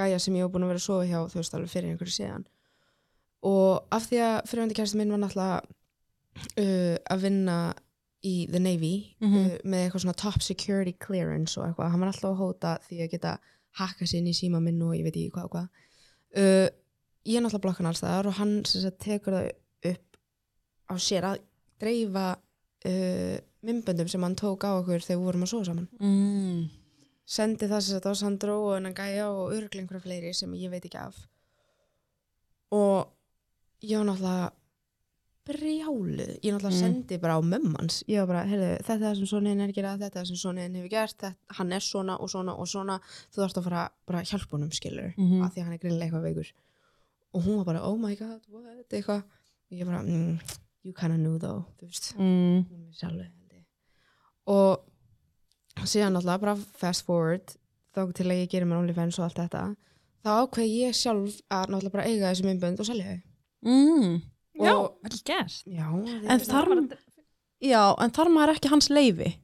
gæja sem ég var búin að vera að sofa hjá, þú veist, alveg fyrir einhverju síðan. Og af því að fyrirvægandi kæristi minn var náttúrulega uh, að vinna í The Navy Mhm. uh, með eitthvað svona top security clearance og eitthvað, hann var alltaf að hóta því að geta hakka sér inn í síma minn og ég veit ekki hvað og hvað. Uh, ég er náttúrulega blokkan alls þaðar og hann sem sagt tekur það upp á sér að dreifa uh, mymböndum sem hann tók á okkur þegar við vorum að sofa saman mm. sendi það sem þetta á Sandró og hennan gæja og örgla einhverja fleiri sem ég veit ekki af og ég var náttúrulega brjáluð, ég náttúrulega Mm. sendi bara á mömmans, ég var bara, heyrðu, þetta er það sem sonin er að gera, þetta er það sem sonin hefur gert þetta, hann er svona og svona og svona þú þarfst að fara bara að hjálpa honum skilur Mhm. af því að hann er greinlega eitthvað veikur og hún var bara, oh my god, what, eitthvað og ég bara, mm, you kinda knew though þú veist, Mm. hún er sjálfur held ég. og síðan alltaf bara fast forward þá til að ég gerir mér OnlyFans og allt þetta þá ákveð ég sjálf að náttúrulega bara eiga þessi myndbönd og selja þau Mm. Já, Og- vel gert. já, En þið- þar, já, en þar maður ekki hans leifi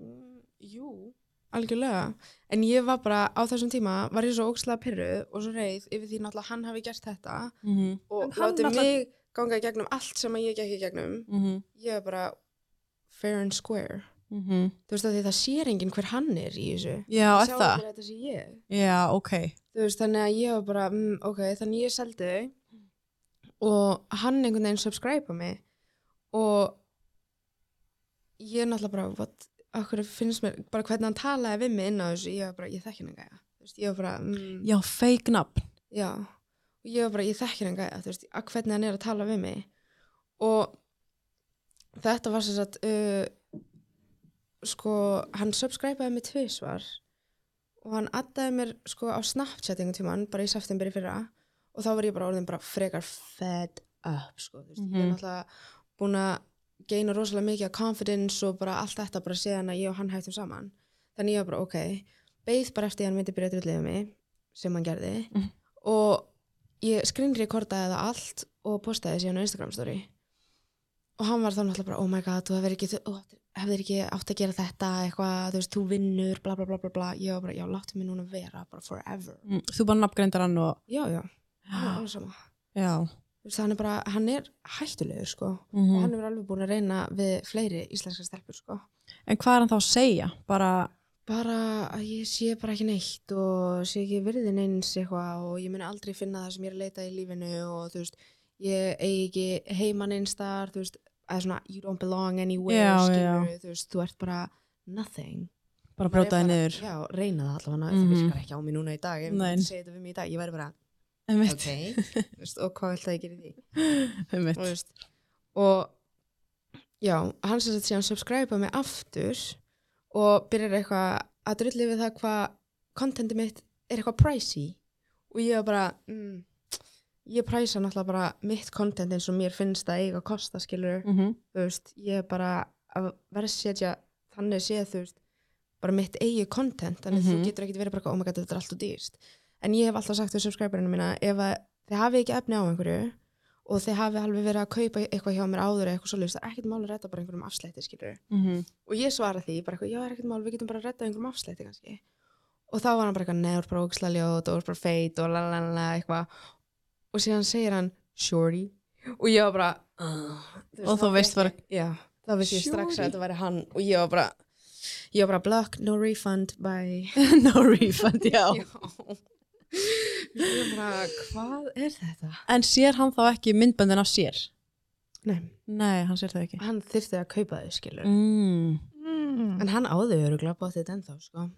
Mm, jú, algjörlega en ég var bara, á þessum tíma var ég svo ókslega pyrruð og svo reið yfir því náttúrulega hann hafi gert þetta mm En og hann látið náttúrulega- mig ganga í gegnum allt sem að ég gekk í gegnum -hmm. ég var bara fair and square Mm -hmm. þú veist að því það sér enginn hver hann er í þessu Já, er mhm. Sjá það allir að þetta sé ég Já, ok þú veist, þannig að ég var bara, mm, ok, þannig ég seldi þau og hann einhvern veginn subscribe á mig og ég er náttúrulega bara, what, okkur finnst mér, bara hvernig hann talaði við mig inn á þessu, ég var bara, ég þekki hann gæja, þú veist, ég var bara, mm, Já, fake nafn já, og ég var bara, ég þekki hann gæja, þú veist, að hvernig hann er að tala við mig og þetta var sem sagt, uh, sko, hann subscribeaði mig tvisvar og hann addaði mér sko á Snapchat einhvern tímann, bara í september í fyrra og þá var ég bara orðin bara frekar fed up, sko, þú veist, ég er Mhm. náttúrulega búin að geina rosalega mikið af confidence og bara allt þetta bara séðan að ég og hann hættum saman, þannig ég var bara, ok beið bara eftir að hann myndi byrja að drulliða mig sem hann gerði Mhm. og ég skrinrekordaði það allt og postaði síðan á Instagram story og hann var þá náttúrulega bara oh my god, þú hefur ekki, þú hefur ekki átt að gera þetta eitthvað, þú veist, þú vinnur bla bla bla bla bla, ég var bara, já, láttu mig núna vera bara forever, mm. Þú bara nafngreindar hann og já, já, hann Ah. er alveg sama Já þú veist, hann er bara, hann er hættulegur sko, mm og hann er alveg búin að reyna við fleiri íslenska stelpur sko En hvað er hann þá að segja? Bara, bara að ég sé bara ekki neitt og sé ekki virðin eins eitthvað og ég muni aldrei finna það sem ég er að leita í lífinu og þú veist, ég eigi ekki heiman eins þar, þú veist, að svona you don't belong anywhere, Já, skilur, þú veist, þú ert bara nothing. bara Maður er brjótaði bara- niður Já, reyna það allavega, Mhm. það virkar ekki á mig núna í dag, ef Nei. ég segi þetta við mig í dag, ég væri bara, Einmitt, ok, þú veist, og hvað ætlaði ég að gera í því? einmitt og, þú veist, og já, hann sem sagt síðan subscribe mig aftur og byrjar eitthvað að drulli við það hvað contentið mitt er eitthvað pricey og ég var bara mm, ég præsa náttúrulega bara mitt content eins og mér finnst það eiga að kosta skilur mm Mhm, -hmm. þú veist, ég er bara að verðsetja þannig séð, þú veist, bara mitt eigi content, þannig Mhm. þú getur ekkit verið bara eitthvað, oh my god, þetta er allt og dýrst. En ég hef alltaf sagt við subscriberinu mína, ef að þið hafið ekki efni á einhverju og þið hafið alveg verið að kaupa eitthvað hjá mér áður eða eitthvað svoleiðis, það er ekkit mál að redda bara einhverjum afslætti, skilur. mhm. Og ég svara því, bara eitthvað, já, er ekkit mál, við getum bara að redda einhverjum afslætti kannski. Og þá var hann bara eitthvað, neður bara ógislega ljót og þú ert bara feit og lalala, eitthvað. Og síðan segir hann, shorty. Og ég var bara, "Ugh." Og veist, þú þá veist fékk bara- ég- Já, þá veist ég strax Shorty. að þetta væri hann og ég var bara, ég var bara block, no refund, bye. No refund, já Já. ég var bara, hvað er þetta? En sér hann þá ekki myndböndin af sér? Nei, Nei, hann sér það ekki hann þyrfti að kaupa þau, skilur. mm. Mm. En hann áður öruglega bótt þetta ennþá, sko.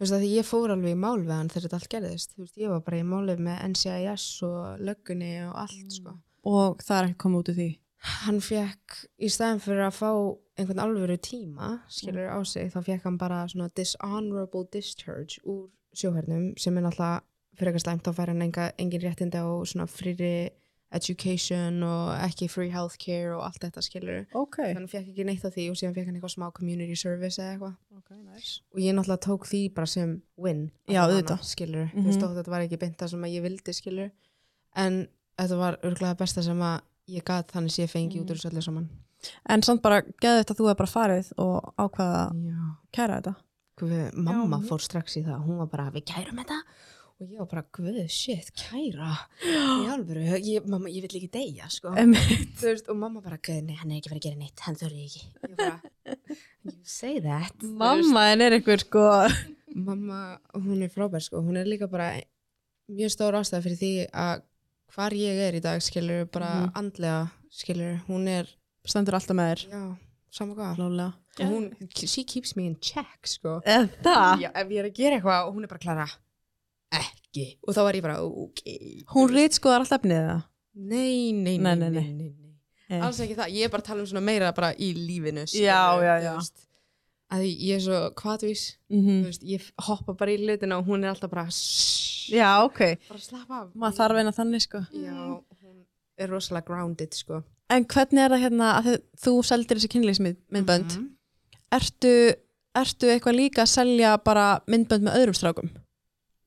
Þú veist að því ég fór alveg í mál við hann þegar þetta allt gerðist. Þú veist, ég var bara í málið með NCIS og löggunni og allt, sko. Og það er ekki komið út úr því Hann fekk, í staðin fyrir að fá einhvern alvöru tíma, skilur á sig, þá fekk hann bara svona dishonorable discharge úr sjóhernum sem er náttúrulega fyrir eitthvað slæmt, þá fær hann enga, engin réttinda og svona frýri, education og ekki free healthcare og allt þetta skilur Ok, þannig að fekk ekki neitt af því og síðan fekk hann eitthvað smá community service eða eitthvað ok, nice. og ég náttúrulega tók því bara sem win Já, Alla auðvitað. hana, skilur, Mhm. þú veist þótt þetta var ekki beint það sem að ég vildi skilur en þetta var örgulega besta sem að ég gat þannig sé fengi út úr þessu öllu saman En samt bara geði þetta að þú er bara farið og ákvaða að já, kæra þetta. guð, mamma Já. fór strax í það hún var bara, við kærum þetta og ég var bara, guð, shit, kæra í alvöru, ég, mamma, ég vil ekki deyja sko, Em, þú veist, og mamma bara guð, nei, hann er ekki verið að gera neitt, hann þurfi ekki ég bara, you say that þú veist. Mamma en er einhver sko mamma, hún er frábær sko, hún er líka bara mjög stór ástæð fyrir því að hvar ég er í dag, skilur, bara Mhm. andlega, skilur, hún er Stendur alltaf með þér já, sama hvað Lólega og hún, she keeps me in check, sko Eða það? já, ef ég er að gera eitthvað og hún er bara klara ekki, og þá var ég bara, ok Hún rít skoðar alltaf efnið það nei, nei, nei, Nei, nei, nei, nei. nei, nei, alls ekki það, ég er bara að tala um svona meira bara í lífinu Já, já, já. að ég er svo kvatvís mm þú veist, ég hoppa bara í hlutina og hún er alltaf bara "Shh, Já, ok bara slappa af Maður þarf eina þannig sko já, hún er rosalega grounded sko En hvernig er það hérna að þið, þú seldir þessi kynlýsmyndbönd Mhm. ertu, ertu eitthvað líka að selja bara myndbönd með öðrum strákum?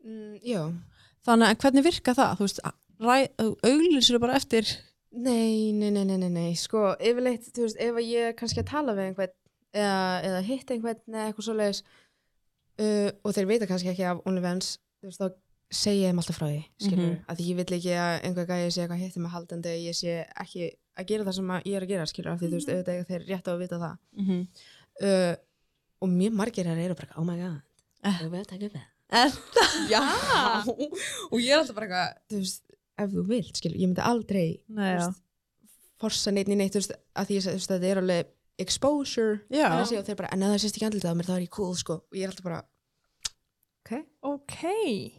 mm, já, Þannig að hvernig virka það? Þú veist, auglýsir bara eftir nei, nei, nei, nei, nei, nei sko, yfirleitt, þú veist, ef að ég er kannski að tala við einhvern eða, eða hitt einhvern eða eitthvað svoleiðis uh, og þeir veita kannski ekki af OnlyFans þú veist, þá segja ég þeim alltaf frá því skilur, mm Mhm. að því ég vil ekki að einhver gæði sé eitthvað hittum að haldandi, að ég sé ekki að gera það sem að ég er að gera, skilur, af því þú veist, Mhm. auðvitað eiga þeir rétt á að vita það mm -hmm. uh, og mjög margir þær eru bara oh my god, Eh. þú verður að taka upp það já, og ég er alltaf bara eitthvað þú veist, ef þú vilt, skilur, ég myndi aldrei Nei, þú já. veist, forsa neitt í neitt, þú veist, að því ég sagði, þú veist, þetta er alveg exposure, Já. Þannig að sé, og þeir bara en ef það sést ekki andlitað á mér, þá er ég cool, sko og ég er alltaf bara, ok Ok.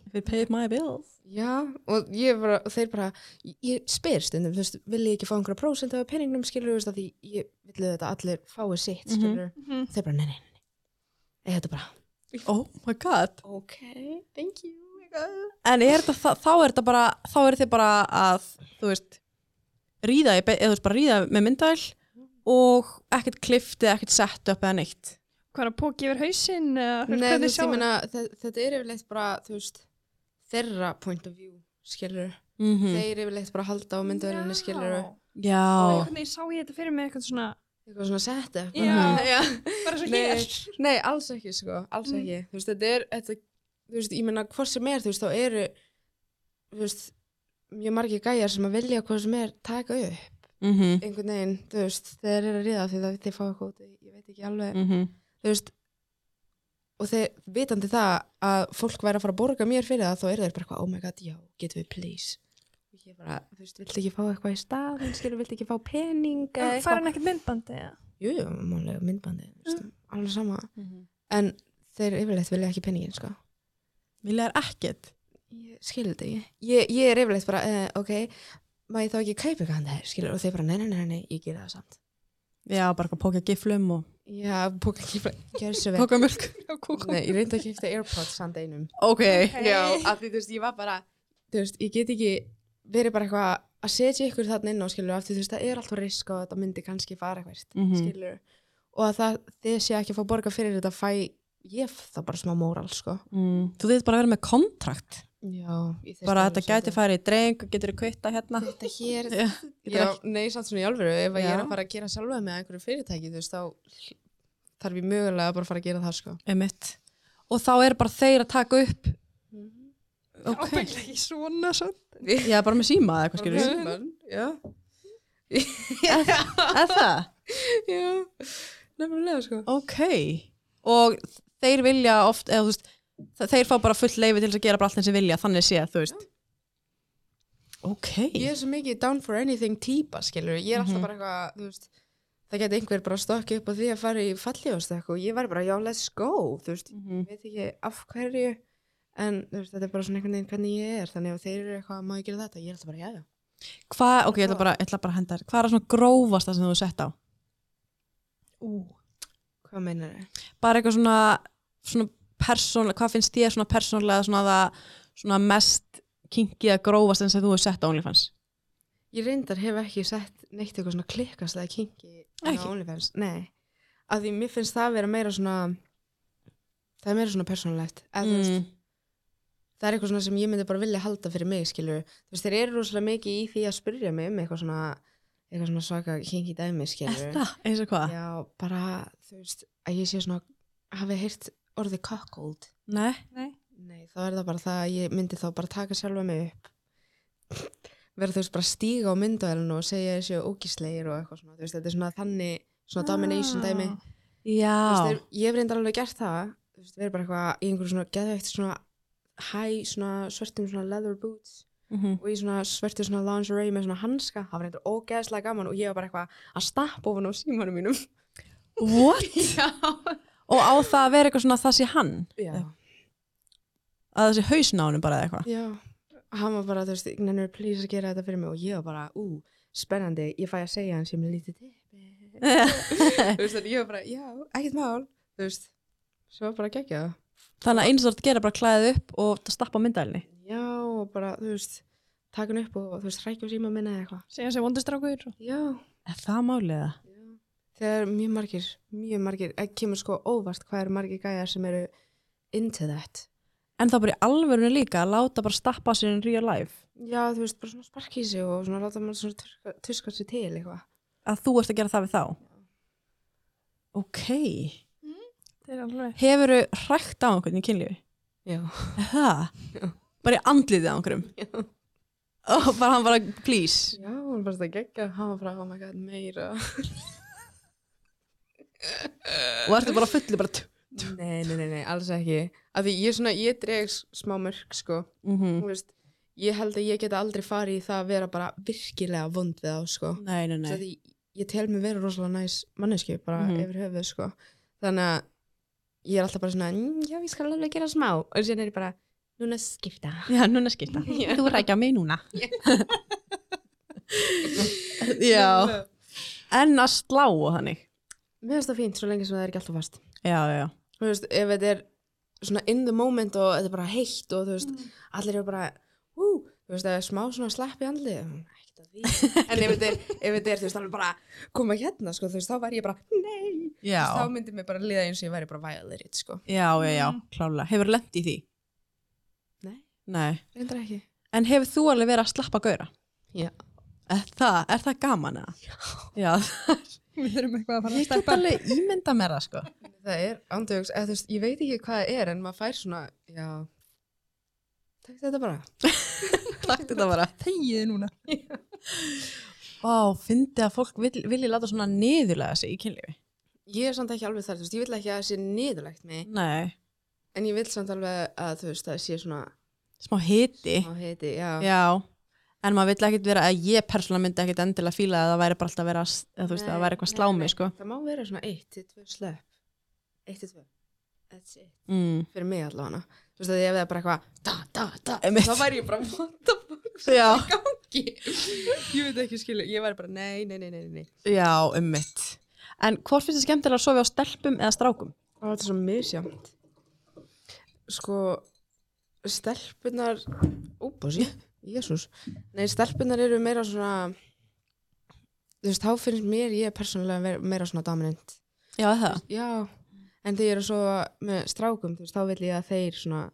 If it paid my bills já, og ég bara, og þeir bara ég, ég spyr stundum, þú veist, vil ég ekki fá einhverja prósent af peningnum, skilur, þú veist, að því ég vil þetta allir fái sitt, Mhm. skilur Mhm. og þeir bara, nei, nei, nei, nei, þetta bara Oh my god ok, thank you oh En er þetta, þá, þá er þetta bara þá er þið bara að þú veist, ríða, í be- eða þú veist bara ríða með myndal og ekkert kliftið, ekkert sett upp eða neitt Hvað er að póki yfir hausinn? Nei, þú veist, ég meina, þe- þetta er yfirleitt bara, þú veist, þeirra point of view, skilur. mm Þeir yfirleitt bara halda á myndavélinni, skilur. Og Já, einhvern veginn sá ég þetta fyrir mig eitthvað svona, Eitthvað svona sett upp. Já. já. bara svo Nei. hér. Nei, alls ekki, sko, alls Mm. ekki. Þú veist, þetta er, þetta, þú veist, ég meina, hvort sem er, þú veist, þá eru, þú veist, mjög margir gæjar sem að vilja hvort sem er taka upp mm -hmm. einhvern veginn, þú veist, þeir eru að ríða af því það þeir fá eitthvað út, í- ég veit ekki alveg Mm -hmm. þú veist og þeir vitandi það að fólk væri að fara að borga mér fyrir það þá eru þeir bara eitthvað, oh my god, já, getum við please og ég bara, þú veist, viltu ekki fá eitthvað í stað en skilur, viltu ekki fá pening eða Fær hann ekkert myndbandi eða? jú, jú, málega myndbandi, þú veist, alveg sama en þeir yfirleitt vilja ekki peningin, sko Vilja er ekkert ég skilur þetta ekki, ég, ég er yfirleitt bara uh, ok, má ég þá ekki kaupa eitthvað hann þeir, skilur, og þeir bara, nei, nei, nei, nei, ég gera það samt Já, bara að póka giflum og já, bóka ekki, gerðu svo vel póka mjölk nei, ég reyndi að kipta Airpods samt einum Ok, Já, af því þú veist, ég var bara þú veist, ég get ekki verið bara eitthvað að setja ykkur þarna inn á skilur af því þú veist, það er alltaf risk og þetta myndi kannski fara eitthvað, mm Mhm. skilur og að það, þið sé ekki að fá borga fyrir þetta fæ ég f- það bara smá móral, sko Mm. Þú þið bara að vera með kontrakt Já, ég þyrfti bara að alveg þetta gæti svolítið. farið í dreng og getur þú kvitta hérna Þetta hér, Já, getur já, nei, samt svona í alvöru ef að ég er Já. að fara að gera sjálfa með einhverju fyrirtæki, þú veist, þá þarf ég mögulega bara að fara að gera það, sko Einmitt. og þá er bara þeir að taka upp Mhm. Ok. ok, Ábyggla ekki svona svo. já bara með síma eða eitthvað skilur Já, Mhm. eða það, já, nefnilega, sko ok og þeir vilja oft eða, þú veist, þe- þeir fá bara full leifi til þess að gera bara allt þeim sem vilja, þannig sé þú veist ok ég er svo mikið down for anything típa skilur, ég er Mhm. alltaf bara eitthvað þú veist, það geti einhver bara stokki upp á því að fara í fallífastökk og ég væri bara já let's go, þú veist, Mhm. ég veit ekki af hverju en þú veist, þetta er bara svona einhvern veginn hvernig ég er, þannig að þeir eru eitthvað má ég gera þetta, ég er alltaf bara já já hvað, ok, ég ætla bara, ég ætla bara að henda þér hvað er það svona grófasta sem þú hefur sett á Ú. hvað meinar þau? bara eitthvað svona, svona persónlega, hvað finnst þér svona persónlega svona, það, svona mest kinkiða grófast en sem þú hefur sett á OnlyFans Ég reyndar hef ekki sett neitt eitthvað svona klikkast eða kingi á Ekki? OnlyFans. Nei, af því mér finnst það vera meira svona, það er meira svona persónulegt. Eða, þú veist, mm. það er eitthvað svona sem ég myndi bara vilja halda fyrir mig, skilur. Þú veist, þeir eru rosalega mikið í því að spyrja mig um eitthvað svona, eitthvað svona svaka kingi dæmi, skilur. Er það? Eins og hvað? Já, bara, þú veist, að ég sé svona, hafi heyrt orðið cuckold. Nei, Nei. Nei, þá er það bara það að ég myndi þá bara taka sjálfa mig upp verða þú veist bara stíga á myndaðelinu og segja þessi ógíslegir og eitthvað svona þú veist, þetta er svona þannig, svona domination dæmi Ah. Þú já veist, ég hef reyndar alveg gert það þú veist, verið bara eitthvað í einhverjum svona geðveikt svona hæ, svona svörtum svona leather boots Mhm. og í svona svörtu svona lingerie með svona hanska það var reyndar ógeðslega gaman og ég var bara eitthvað að stappa ofan á símanum mínum What? Já, Og á það að vera eitthvað svona það sé hann já, að það sé hausn á hann bara eða eitthvað já hann var bara, þú veist, nennur please að gera þetta fyrir mig og ég var bara, ú, spennandi ég fæ að segja hann sem er lítið tippi þú veist, þannig ég var bara, já, ekkert mál þú veist, svo bara geggja það Þannig að eins og þú ert að gera er bara klæðið upp og stappa myndælni já, og bara, þú veist, taka hann upp og þú veist, rækja síma minna eða eitthvað Segja sér vondustrákur. já, Er það málið það? já, þegar mjög margir mjög margir, eh, kemur sko óvart hvað eru margir gæjar sem eru into that En þá bara í alvörinu líka að láta bara stappa sér in real life já, þú veist, bara svona sparki í sig og svona láta mann svona tuska, tuska sig til eitthvað að þú ert að gera það við þá Ok Það er alveg. Hefurðu hrækt á einhvern í kynlífi? já, Er Það? Bara í andliðið á einhverjum? já, Og bara hann bara, please já, hann bara þetta geggja hann var bara, oh my god, meira Og ertu bara fullið bara nei, nei, nei, nei, alls ekki af því ég svona, ég dreg s- smá mörg sko mm -hmm. þú veist, ég held að ég geta aldrei farið í það að vera bara virkilega vond við þá, sko. Nei, nei, Svo nei því ég tel mig vera rosalega næs manneski, bara Mhm. yfir höfuð, sko. Þannig að ég er alltaf bara svona, "Mm, já, ég skal alveg gera smá. Og síðan er ég bara, núna skipta. Já, núna skilta. Já. Þú rækja mig núna. já. En að slá og þannig. Mér finnst það fínt svo lengi sem það er ekki alltaf fast. Já, já, já. Þú veist, ef þetta er svona in the moment og þetta er bara heitt og þú veist, Mm. allir eru bara, ú, þú veist, það er smá svona slapp í andlið. mm, ekkert að því. En ef þetta er, ef þetta er, þú veist, alveg bara koma hérna, sko, þú veist, þá var ég bara, nei, þá Já, myndi mér bara liða eins og ég væri bara violate, sko. já, já, já klálega. Hefur lent í því? Nei. Nei. Reyndar ekki. En hefur þú alveg verið að slappa gauðra? Já. Er það, er það gaman eða? Já. Við þurfum eitthvað að fara að Ég get steppa. alveg ímynda mér það, sko. Það er andjóks, eða þú veist, ég veit ekki hvað það er en maður fær svona, já, takk þetta bara. Takk þetta bara. Þegið núna. Vá, fyndi að fólk vil, vilji láta svona niðurlega sig í kynlífi. Ég er samt ekki alveg þar, þú veist, ég vil ekki að það sé niðurlegt mig, Nei. en ég vil samt alveg að þú veist, það sé svona Smá hiti. á heiti, já. Já, en maður vill ekkert vera að ég persónulega myndi ekkert endilega fíla að það væri bara alltaf að vera, að þú veist, að það Nei, væri eitthvað nei, slámi, nei. sko. Það má vera svona eitt til tvö slöpp, eitt til tvö, that's it, Mm. fyrir mig allavega. Þú veist, að ég hefði bara eitthvað, da, da, da, Einmitt. þá væri ég bara, what the fuck, Já, gangi? ég veit ekki skilja, ég væri bara, nei, nei, nei, nei, nei. já, ummitt. En hvort finnst þið skemmtilega að sofa á stelpum eða strákum? Ó, þetta er svo misjæmt. Sko, stelpunar, óbási, jésús. Nei, stelpunar eru meira svona, þú veist, þá finnst mér, ég er persónulega ver- meira svona dominant. Já, er það. Já, en þegar ég er svo með strákum, þú veist, þá vil ég að þeir svona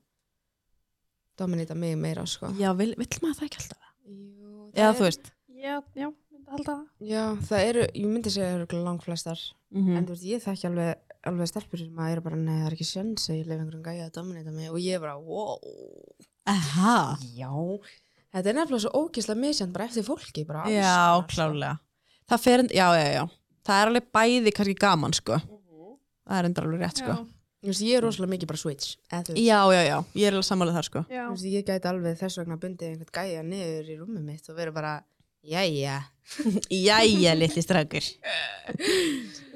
dominita mig meira, sko. Já, vill, vill maður það ekki alltaf? Jú, það Já, er- þú veist. Já, já, myndi halda það. Já, það eru, ég myndi segja að það eru langflestar, Mm en þú veist, ég þekki alveg, alveg stelpur sem að eru bara, nei, það er ekki sjöns að ég leif einhverjum gæja að dominita mig og ég er bara, wow. Aha, Já, þetta er nefnilega svo ógislega misjönd bara eftir fólki bara alls já, konar, sko. klálega. Það fer, já, já, já. Það er alveg bæði kannski gaman, sko. Það er endur alveg rétt, sko. Já, Þú veist, ég er rosalega mikið bara switch eða, þú veist, Já, já, já, ég er alveg sammálið þar, sko. já. þú veist, Ég gæti alveg þess vegna bundið einhvern gæja niður í rúmið mitt og verið bara Jæja Jæja, litli strákur.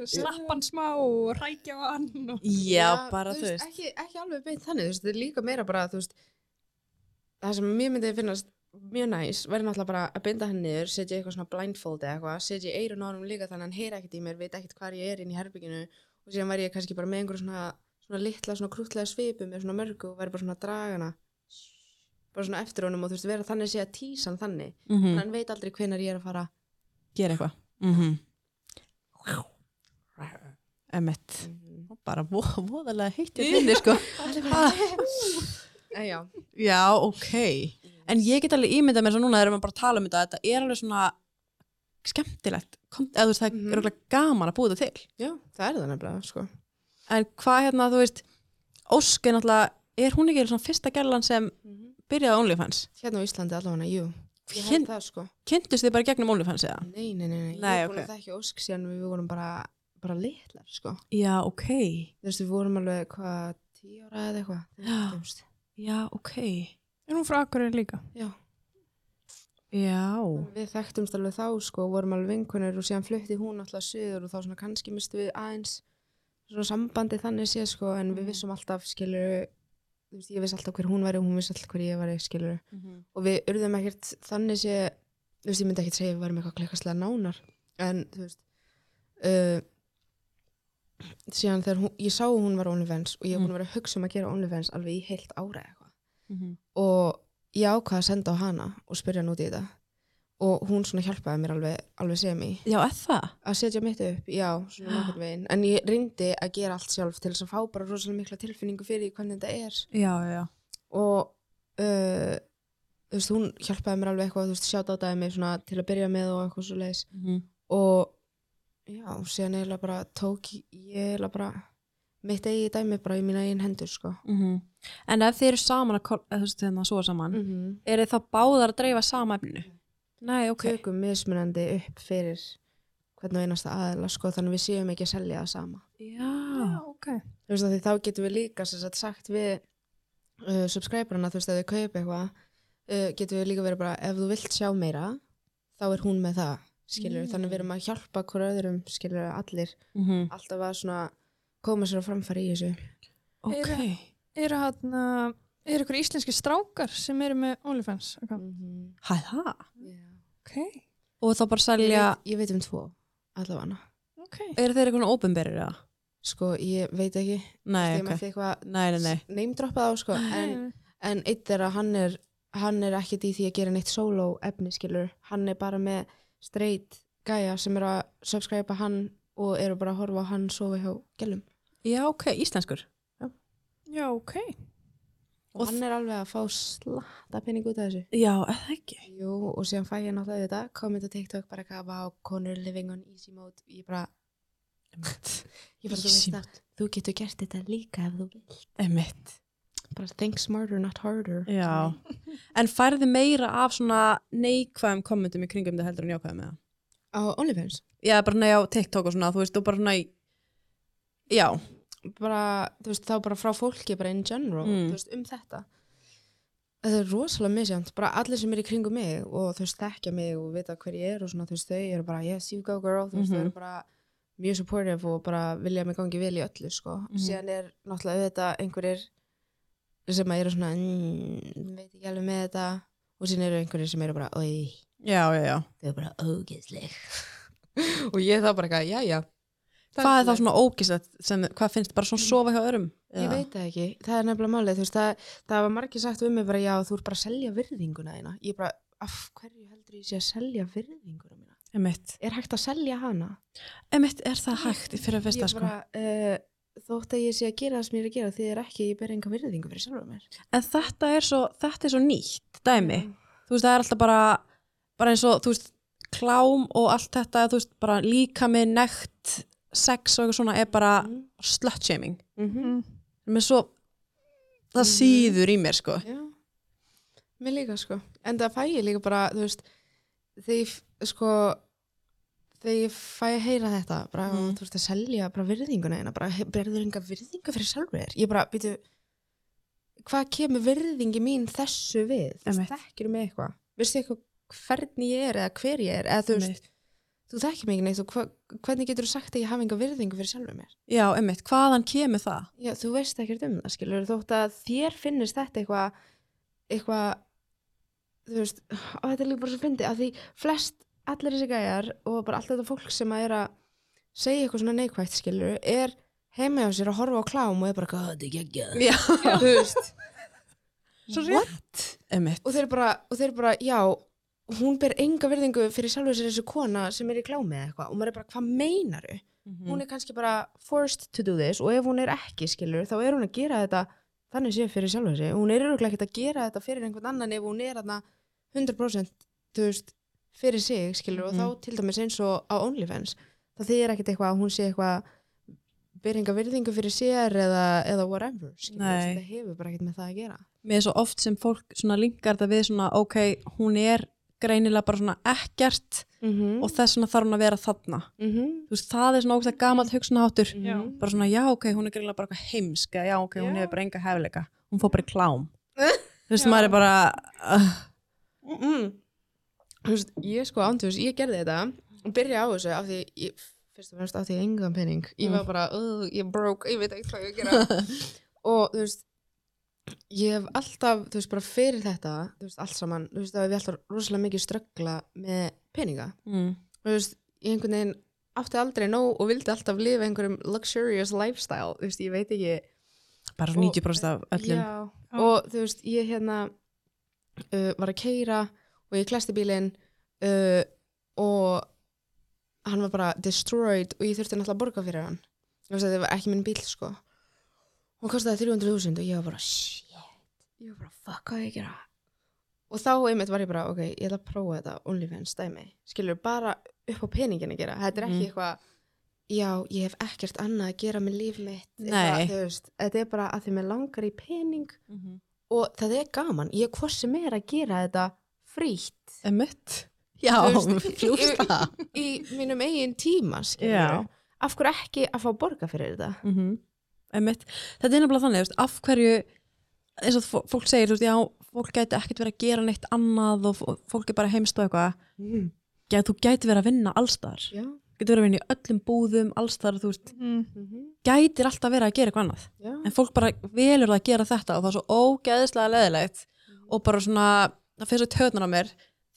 Slappan smá og rækja á hann. og- Já, bara, þú veist. ekki, ekki alveg beint þannig, þú veist, þetta er líka meira bara þú veist, það sem mér myndi finnast mjög næs, verður náttúrulega bara að binda hann niður, setja eitthvað svona blindfold eða eitthvað, setja eirun á hann líka þannig að hann heyra ekkert í mér, veit ekkert hvar ég er inn í herbygginu og síðan væri ég kannski bara með einhverju svona, svona litla, svona krútlega svipu með svona mörgu og væri bara svona dragana bara svona eftir honum og þú veist vera þannig sé að tísa hann þannig mm en hann veit aldrei hvenar ég er að fara gera eitthvað mm emmett bara vo voðalega heitt í þinni sko en Eh, já, já ok en ég get alveg ímyndað mér svo núna þegar maður bara að tala um þetta að þetta er alveg svona skemmtilegt kom, eða, þú veist, það Mhm. er alveg gaman að búa þetta til já, það er það nefnilega sko. en hvað hérna þú veist Ósk er náttúrulega, er hún ekki svona fyrsta gælan sem byrjaði á OnlyFans hérna á Íslandi allavega, jú ég Hinn- held það sko kynntust þið bara í gegnum OnlyFans eða? nei, nei, nei, nei, Nei, ég er búin að það ekki ósk síðan við vorum bara, bara litlar sko. já ok þú veist við vorum alveg hvað tíu ára eða eitthvað þegar Já. við kynntumst. já ok Er hún frá Akureyri líka? já, já við þekktumst alveg þá sko, og vorum alveg vinkunir og síðan flutti hún alltaf söður og þá svona kannski mistu við aðeins svona sambandi þannig sé sko, en Mhm. við vissum alltaf skilur þú veist, ég viss alltaf hver hún væri og hún viss alltaf hver ég væri skilur og við urðum ekkert þannig sé þú veist, ég myndi ekkert segja að við varum eitthvað klikkastlega nánar en þú veist uh, síðan þegar hún, ég sá að hún var OnlyFans og ég var búin að vera að hugsa um að gera OnlyFans alveg í heilt ára eða eitthvað og ég ákvaði að senda á hana og spyrja hann út í þetta og hún svona hjálpaði mér alveg, alveg sem í já er það? að setja mitt upp, já, svona nokkurn veginn en ég reyndi að gera allt sjálf til þess að fá bara rosalega mikla tilfinningu fyrir því hvernig þetta er já já og uh, þú veist, hún hjálpaði mér alveg eitthvað, þú veist, sjátt á dæmi mig svona til að byrja með og eitthvað svo leiðis mm og já, síðan eiginlega bara tók ég eiginlega bara mitt eigi dæmi bara í mína einn hendur, sko -hmm. En ef þið eru saman að kol- eða þú veist þegar það svo saman, mm. mm -hmm. eru þá báðar að dreifa sama efninu? Nei, ok. tökum mismunandi upp fyrir hvern og einasta aðila, sko, þannig við séum ekki að selja það sama Já. ok. þú veist að því þá getum við líka sem sagt, sagt við uh, subscriberana þú veist að þau kaupa eitthvað uh, getum við líka verið bara ef þú vilt sjá meira þá er hún með það skilur Mm. þannig við erum að hjálpa hver öðrum skilur allir Mm alltaf að svona koma sér á framfæri í þessu Ok. Eru hann að, eru ykkur íslenski strákar sem eru með OnlyFans? account? Hæ, það? Ok, Og þá bara ég, selja, veit, ég veit um tvo allavega ok. eru þeir eitthvað ópenberir eða? sko ég veit ekki Nei, ég ok. mætti eitthvað Nei, nei, nei. neymdroppað á sko en, en eitt er að hann er hann er ekkit í því að gera neitt solo efni skilur, hann er bara með straight gæja sem eru að subscribe hann og eru bara að horfa á hann sofa hjá gælum Já, ok, íslenskur. Já, ok. og, Og hann er alveg að fá slatta pening út af þessu Já, eða ekki. Jú, og síðan fæ ég náttúrulega þetta komið á TikTok bara eitthvað á konur living on easy mode ég bara, ég bara þú, Easy veist það, þú getur gert þetta líka ef þú vil Emitt. bara think smarter not harder Já. En færðu meira af svona neikvæðum kommentum í kringum þetta heldur en jákvæðum eða? á OnlyFans Já, bara nei á TikTok og svona, þú veist, og bara svona í... Já. bara, þú veist, þá bara frá fólki bara in general, Mm. þú veist, um þetta þetta er rosalega misjönd bara allir sem er í kringum mig og þú veist þekkja mig og vita hver ég er og svona, þú veist, þau eru bara, yes, you go girl, þú veist, Mhm. þau eru bara mjög supportive og bara vilja mig gangi vel í öllu, sko, Mhm. síðan er náttúrulega auðvitað einhverjir sem eru svona, mm, veit ekki alveg með þetta og síðan eru einhverjir sem eru bara, oi, Já, já, já. þau eru bara ógeðsleg og ég þá bara eitthvað, já, já Hvað er þá svona ógislegt sem, hvað finnst, bara svona sofa hjá örum? Ég veit það ekki, það er nefnilega málið, þú veist, það, það var margir sagt um mig bara, já, þú ert bara að selja virðinguna þína. Ég bara, af hverju heldur ég sé að selja virðinguna mína? Emitt. Er hægt að selja hana? Emitt, er það hægt fyrir að fyrsta ég sko? bara, uh, þótt að ég sé að gera það sem ég er að gera, því er ekki, ég ber enga virðingu fyrir sjálfur mér. Mhm. En þetta er svo, þetta er svo nýtt dæmi. Mm. Þú veist, það er alltaf bara, bara eins og, þú veist, klám og allt þetta, þú veist, bara líka með nekt, sex og eitthvað svona er bara Mm. slut-shaming. Mm Mm. Menn svo, það Mhm. síður í mér sko. Já, mér líka sko en það fæ ég líka bara, þú veist þegar ég, f- sko þegar ég fæ að heyra þetta bara, Mm. þú veist að selja bara virðinguna eina bara, he- berður enga virðingu fyrir sjálfur þér ég bara, býtu hvað kemur virðingi mín þessu við þú Einmitt. þekkir mig eitthvað veistu eitthvað hvernig ég er eða hver ég er eða þú veist, Einmitt. þú þekkir mig ekki neitt og hva, hvernig getur þú sagt að ég hafa enga virðingu fyrir sjálfur mér Já, emitt, hvaðan kemur það? Já, þú veist ekkert um það, skilur, þótt að þér finnist þetta eitthvað, eitthvað, þú veist, og þetta er líka bara svo fyndið, að því flest, allir þessi gæjar og bara allt þetta fólk sem að er að segja eitthvað svona neikvægt, skilur, er heima hjá sér að horfa á klám og er bara, hvað, þetta er geggjað, Já. þú veist, Svo rétt. what? Emmett. Og þeir bara, og þeir bara, já, hún ber enga verðingu fyrir sjálfur sér þessu kona sem er í klámi eða eitthvað og maður er bara, hvað meinaru? Mm. Hún er kannski bara forced to do this og ef hún er ekki, skilur, þá er hún að gera þetta þannig séu fyrir sjálfur sér. Hún er öruglega ekkert að gera þetta fyrir einhvern annan ef hún er þarna 100% þú veist, fyrir sig, Mhm. skilur, og þá til dæmis eins og á OnlyFans. Það þýðir ekkert eitthvað að hún sé eitthvað ber enga verðingu fyrir sér eða, eða whatever, skilur, Nei. þetta hefur bara ekkert með það að gera. Mér er svo oft sem fólk svona linkar það við svona, ok, hún er greinilega bara svona ekkert Mm -hmm. og þess vegna þarf hún að vera þarna. Þú veist, það er svona ógst að gamalt hugsunaháttur. Já. Bara svona, já, ok, hún er greinilega bara eitthvað heimska, já, ok, hún Mm. Já. hefur bara enga hefleika. Hún fór bara í klám. Þú veist, Já. maður er bara, uh, mm. Þú veist, ég sko ándjús, ég gerði þetta og byrja á þessu af því ég, fyrst og fremst af því ég engan pening ég var bara, uh, ég broke, ég veit ekki hvað ég á að gera og þú veist ég hef alltaf, þú veist, bara fyrir þetta þú veist, allt saman, þú veist, það hef ég alltaf rosalega mikið ströggla með peninga mm, og þú veist, ég einhvern veginn átti aldrei nóg og vildi alltaf lifa einhverjum luxurious lifestyle, þú veist, ég veit ekki bara Og- 90% af öllum. Já. Já, og þú veist, ég hérna uh, var að keira og ég klæsti bílinn uh, og hann var bara destroyed og ég þurfti náttúrulega að borga fyrir hann. Þú veist, þetta var ekki minn bíl, sko. Hún kostaði 300.000 og ég var bara, shit, ég var bara, fuck, hvað á ég að gera? Og þá einmitt var ég bara, ok, ég ætla að prófa þetta OnlyFans dæmi. Skilur, bara upp á peningin að gera. Þetta er ekki Mhm. eitthvað, já, ég hef ekkert annað að gera með líf mitt. Nei. Eitthvað, þú veist, þetta er bara að því mér langar í pening og það er gaman, ég hvort sem er að gera þetta frítt Emmett. Já, Þú veist, flúst ég- það. í mínum eigin Já. tíma skilurðu. af hverju ekki að fá borga fyrir þetta mm Einmitt. þetta er nefnilega þannig, þú veist, af hverju eins og fó- fólk segir, þú veist, já fólk gæti ekkert verið að gera neitt annað og fó- fólk er bara heimst og eitthvað mm. já, þú gæti verið að vinna allstar já mm gæti verið að vinna í öllum búðum, allstar þú veist, Mm. -hmm. gætir alltaf verið að gera eitthvað annað já. en fólk bara velur það að gera þetta og það er svo ógæðislega leðilegt og bara svona, það fyrir svo töðnar á mér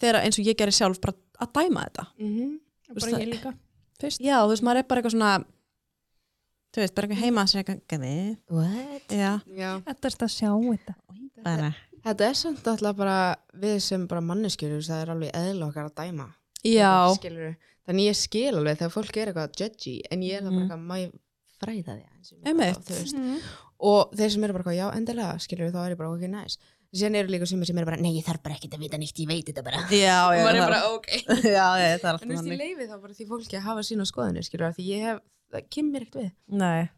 þegar eins og ég gerir sjálf bara að dæma þetta Mm Og Þú bara veist, ég líka. Fyrst. já, þú veist, maður er bara eitthvað svona þú veist, bara eitthvað heima að segja eitthvað, what já, já. Þetta er þetta að sjá þetta. bara þetta er samt alltaf bara við sem bara manneskjur það er alveg eðlokkar að dæma já, Skilurðu. þannig ég skil alveg þegar fólk er eitthvað judgy en ég er það bara Mhm. eitthvað má ég fræða því aðeins um Einmitt. þetta, þú veist. Mm. og þeir sem eru bara, eitthvað, já, endilega, skilur þá er ég bara ok, næs síðan eru líka sumir sem eru bara, nei, ég þarf bara ekkert að vita nýtt, ég veit þetta bara já, já, og það maður er- er bara, ok já, já, það er alltaf en þú veist, ég þannig leifi þá bara því fólki að hafa sína skoðinu skilur, af því ég hef, það kemur mér ekkert við Nei,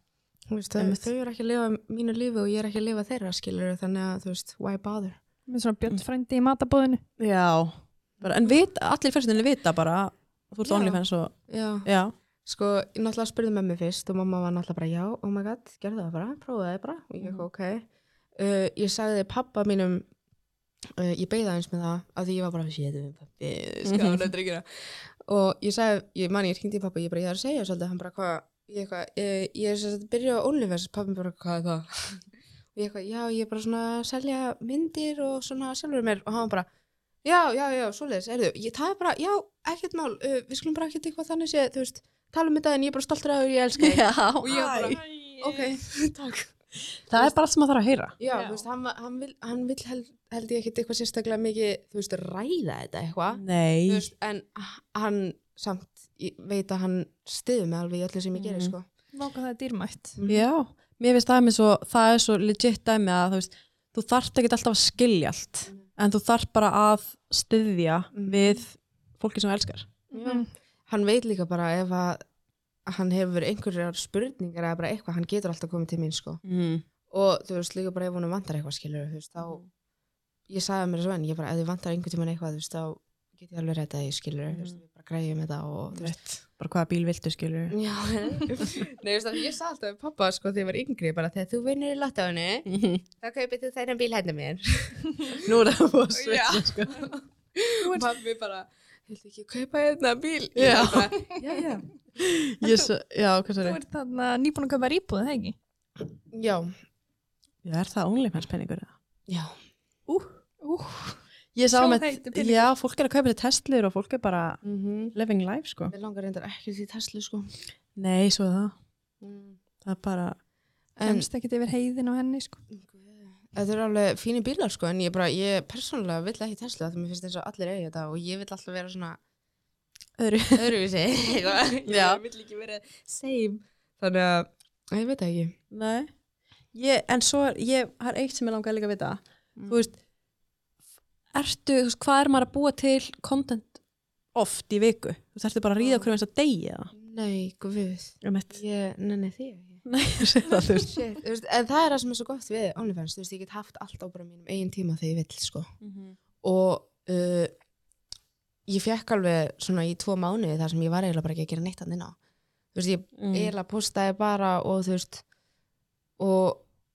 Þú veist, þau, Einmitt. þau eru ekki að lifa mínu lífi og ég er ekki að lifa þeirra skilur, þannig að, þú veist, why bother Með svona Björn frændi í matabóðinu. já bara, En vit, allir fjölskyldinni vita bara Þú ert Já. OnlyFans og já, Já, sko, ég náttúrulega spurði með mig fyrst og mamma var náttúrulega bara, já, oh my god gerðu það bara, prófaði það bara, og ég Mhm. ekki, ok uh, ég sagði pappa mínum uh, ég beigði aðeins með það af því ég var bara, shit, pappi skána dryggjuna og ég sagði, ég man, ég hringdi í pappa ég bara, ég þarf að segja svolítið, hann bara, hvað ég eitthvað, eh, ég er sem sagt að byrja á OnlyFans pappi bara, hvað er það og ég eitthvað, já, ég er bara svona að selja myndir og svona sjálfur mér og hann bara já, já, já, svoleiðis, erðu ég, það er bara, já, ekkert mál, uh, við skulum bara ekkert eitthvað þannig sé, þú veist, tala um þetta en ég er bara stoltur að þau, ég elska þig, já ég bara- æ. ok, takk Það er bara allt sem maður þarf að heyra Já, Já. þú veist, hann, var- hann vil, hann vil held, held ég ekkert eitthvað sérstaklega mikið, þú veist, ræða þetta eitthvað, Nei, þú veist, en h- hann samt, ég veit að hann stiður mig alveg í öllu sem ég gerir, Mhm. sko. Váka það er dýrmætt. mm. já Mér finnst það með svo, það er svo legit dæmi að þú veist, þú þarft ekki alltaf að skilja allt Mm. en þú þarft bara að styðja Mhm. við fólki sem þú elskar Mm. Hann veit líka bara ef að hann hefur einhverjar spurningar eða bara eitthvað, hann getur alltaf komið til mín, sko. mm. Og þú veist, líka bara ef hún vantar eitthvað, skilur, þú veist, þá, ég sagði mér svo enn, ég bara, ef þið vantar einhvern tímann eitthvað, þú veist, þá get ég alveg rétt að ég skilur, þú veist, Mhm. við bara græjum þetta og, þú veist, Bara hvaða bíl viltu skilur Já, nei, veist, ég sagði alltaf við pappa sko þegar ég var yngri bara þegar þú vinnur í lottaunni þá kaupir þú þennan bíl hérna mér Nú er það búið að Já. svitja sko. og pappi bara, viltu ekki kaupa hérna bíl Já. Ég bara, já, já. Ég s- Já, hvað Þú svo ert þarna nýbúin að köpa íbúð, það ekki? já, Já, er það OnlyFans peningur eða? já, Ú, ú. Ég sá Sjá með, heitu peningur. já, fólk er að kaupa þetta testlur og fólk er bara mhm living life, sko. Mér langar reyndar ekki því Tesla sko Nei, Mm. svo er það, það er bara, en, Kemst ekkert yfir heiðin á henni, sko. Guð, Þetta er alveg fínir bílar sko, en ég bara, ég persónulega vill ekki Tesla því mér finnst þess að allir eigi þetta og ég vill alltaf vera svona Öðru. öðruvísi. eitthvað. Já. ég vill ekki vera same. Þannig að, ég veit það ekki. Nei. Ég, en svo, er- ég, það er eitt sem ég langaði líka að vita. Mm. Þú veist, ertu, þú veist, hvað er maður að búa til content oft í viku? Þú veist, ertu bara að ríða Mm. okkur um eins að deyja það? Nei, guð, Um eitt. ég, nei, nei, því ekki. Nei, ég sé það, þú veist. Shit, þú veist, en það er það sem er svo gott við OnlyFans, þú veist, ég get haft allt á bara mínum eigin tíma þegar ég vill, sko. Og uh, ég fekk alveg svona í tvo mánuði þar sem ég var eiginlega bara ekki að gera neitt annað á. Þú veist, ég Mm. eiginlega postaði bara og þú veist, og